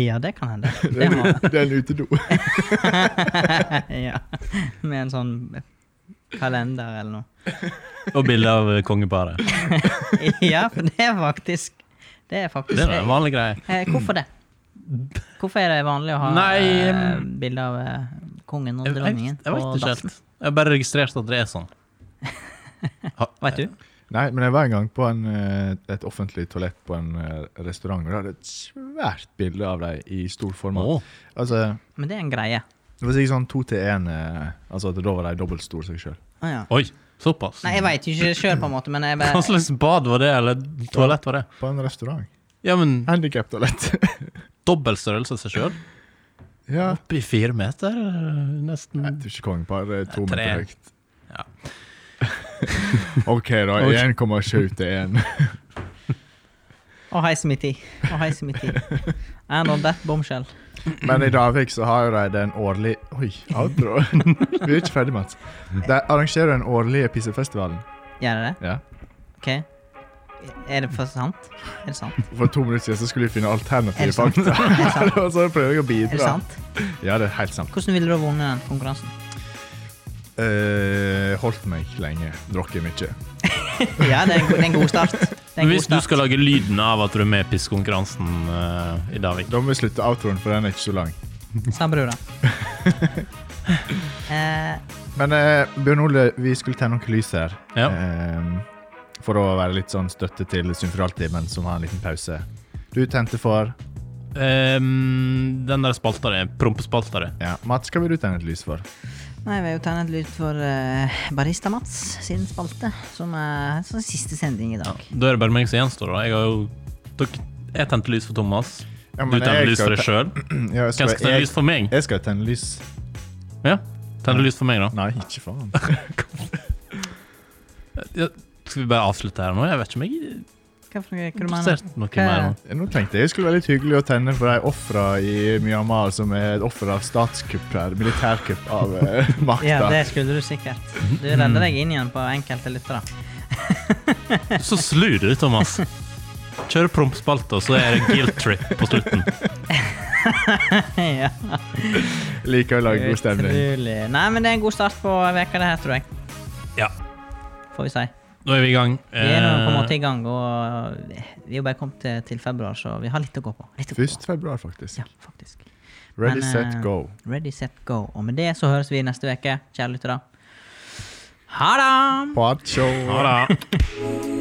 Speaker 3: Ja, det kan hende.
Speaker 4: Det
Speaker 3: Det
Speaker 4: er
Speaker 3: har
Speaker 4: en- det er en utedo.
Speaker 3: vi. ja. Med en sånn kalender eller noe.
Speaker 1: Og bilde av kongeparet.
Speaker 3: Ja, for det er faktisk Det er faktisk
Speaker 1: Det er en
Speaker 3: det.
Speaker 1: vanlig greie.
Speaker 3: Eh, hvorfor det? Hvorfor er det vanlig å ha
Speaker 1: Nei,
Speaker 3: eh,
Speaker 1: em,
Speaker 3: bilde av eh, kongen og
Speaker 1: Jeg, jeg,
Speaker 3: dronningen
Speaker 1: jeg vet
Speaker 3: på
Speaker 1: ikke
Speaker 3: dassen?
Speaker 1: helt. Jeg har bare registrert at det er sånn.
Speaker 3: Vet du?
Speaker 4: Nei, men jeg var en gang på en, eh, et offentlig toalett på en eh, restaurant, og da hadde jeg et svært bilde av deg i stor format.
Speaker 1: Å.
Speaker 4: Altså,
Speaker 3: Men det er en greie.
Speaker 4: det var sikkert sånn to til én, eh, altså at da var de dobbelt store seg sjøl.
Speaker 3: Å Ah, ja.
Speaker 1: Oi, såpass?
Speaker 3: Nei, jeg veit ikke sjøl, på en måte, men jeg
Speaker 1: Hva
Speaker 3: bare
Speaker 1: slags bad var det, eller toalett var det?
Speaker 4: På en restaurant.
Speaker 1: Ja, men
Speaker 4: Handikap-toalett.
Speaker 1: dobbel størrelse seg sjøl?
Speaker 4: ja.
Speaker 1: Oppi fire meter, nesten.
Speaker 4: Jeg tror ikke kongepar er to
Speaker 1: Tre.
Speaker 4: meter høyt.
Speaker 1: Ja.
Speaker 4: OK, da. 1,7 til 1.
Speaker 3: Og heisen min tid. Og heisen min tid. And on that bombshell.
Speaker 4: Men i Davik så har jo de den årlige Oi, outro. Vi er ikke ferdig, Mats. De arrangerer den årlige pissefestivalen.
Speaker 3: Gjør det det?
Speaker 4: Ja.
Speaker 3: OK. Er det for sant? Er det sant?
Speaker 4: For to minutter siden så skulle vi finne
Speaker 3: Er
Speaker 4: alternative
Speaker 3: det sant?
Speaker 4: fakta.
Speaker 3: Er det sant?
Speaker 4: Og så prøver jeg å bidra.
Speaker 3: Er det sant?
Speaker 4: Ja, det er helt sant.
Speaker 3: Hvordan ville du ha vunnet den konkurransen?
Speaker 4: Eh, holdt meg lenge, drukket mye.
Speaker 3: Ja, det er en, go- det er en god start. Det er en god
Speaker 1: Hvis du
Speaker 3: start.
Speaker 1: skal lage lyden av at du er med i pisskonkurransen eh, i Davik
Speaker 4: Da må vi slutte outroen, for den er ikke så lang.
Speaker 3: Sa brura. Eh,
Speaker 4: Men eh, Bjørn Ole, vi skulle tenne noen lys her.
Speaker 1: Ja.
Speaker 4: Eh, for å være litt sånn støtte til Symfraltimen, som har en liten pause. Du tente for
Speaker 1: Ehm, den der spalta di, prompespalta di.
Speaker 4: ja. Mats, hva vil du tenne et lys for?
Speaker 3: nei, vi har jo tegnet lyd for eh, Barista Mats sin spalte, som er som er siste sending i dag.
Speaker 1: Da er det bare meg som gjenstår, da. Jeg har jo dere- Jeg tente lys for Thomas.
Speaker 4: Ja,
Speaker 1: Du
Speaker 4: men
Speaker 1: tente
Speaker 4: jeg
Speaker 1: lys
Speaker 4: skal
Speaker 1: for deg
Speaker 4: te-
Speaker 1: sjøl.
Speaker 4: Ja, jeg,
Speaker 1: Hvem
Speaker 4: skal,
Speaker 1: skal tenne
Speaker 4: jeg,
Speaker 1: lys for meg?
Speaker 4: jeg skal tenne lys.
Speaker 1: Ja, Tenner lys for meg, da.
Speaker 4: Nei, ikke faen.
Speaker 1: Ja, skal vi bare avslutte her nå? Jeg vet ikke om jeg er
Speaker 3: Hva, for, noe- hva du mener?
Speaker 1: interessert i noe
Speaker 3: Hva er
Speaker 1: mer. nå.
Speaker 3: det?
Speaker 4: Nå tenkte jeg det skulle være litt hyggelig å tenne for de ofra i Myanmar som er et offer av statskupp her, militærkupp av eh, makta.
Speaker 3: Ja, det skulle du sikkert. Du
Speaker 1: Mm.
Speaker 3: redder deg inn igjen på enkelte lyttere.
Speaker 1: Så slu du, Thomas. Kjøre prompspalte, og så er det guilt trip på slutten.
Speaker 3: ja.
Speaker 4: Liker å lage god stemning.
Speaker 3: Utrolig. Nei, men det er en god start på veka det her, tror jeg.
Speaker 1: Ja,
Speaker 3: Får vi si.
Speaker 1: nå er vi i gang. Eh,
Speaker 3: Vi er nå på en måte i gang, og vi er jo bare kommet til, til februar, så vi har litt å gå på. Litt å gå på.
Speaker 4: Først februar, faktisk.
Speaker 3: Ja, faktisk.
Speaker 4: Ready,
Speaker 3: Men, eh,
Speaker 4: set, go.
Speaker 3: Ready, set, go. Og med det så høres vi neste uke, kjære lyttere. Ha det!
Speaker 4: Part show.
Speaker 1: Ha det.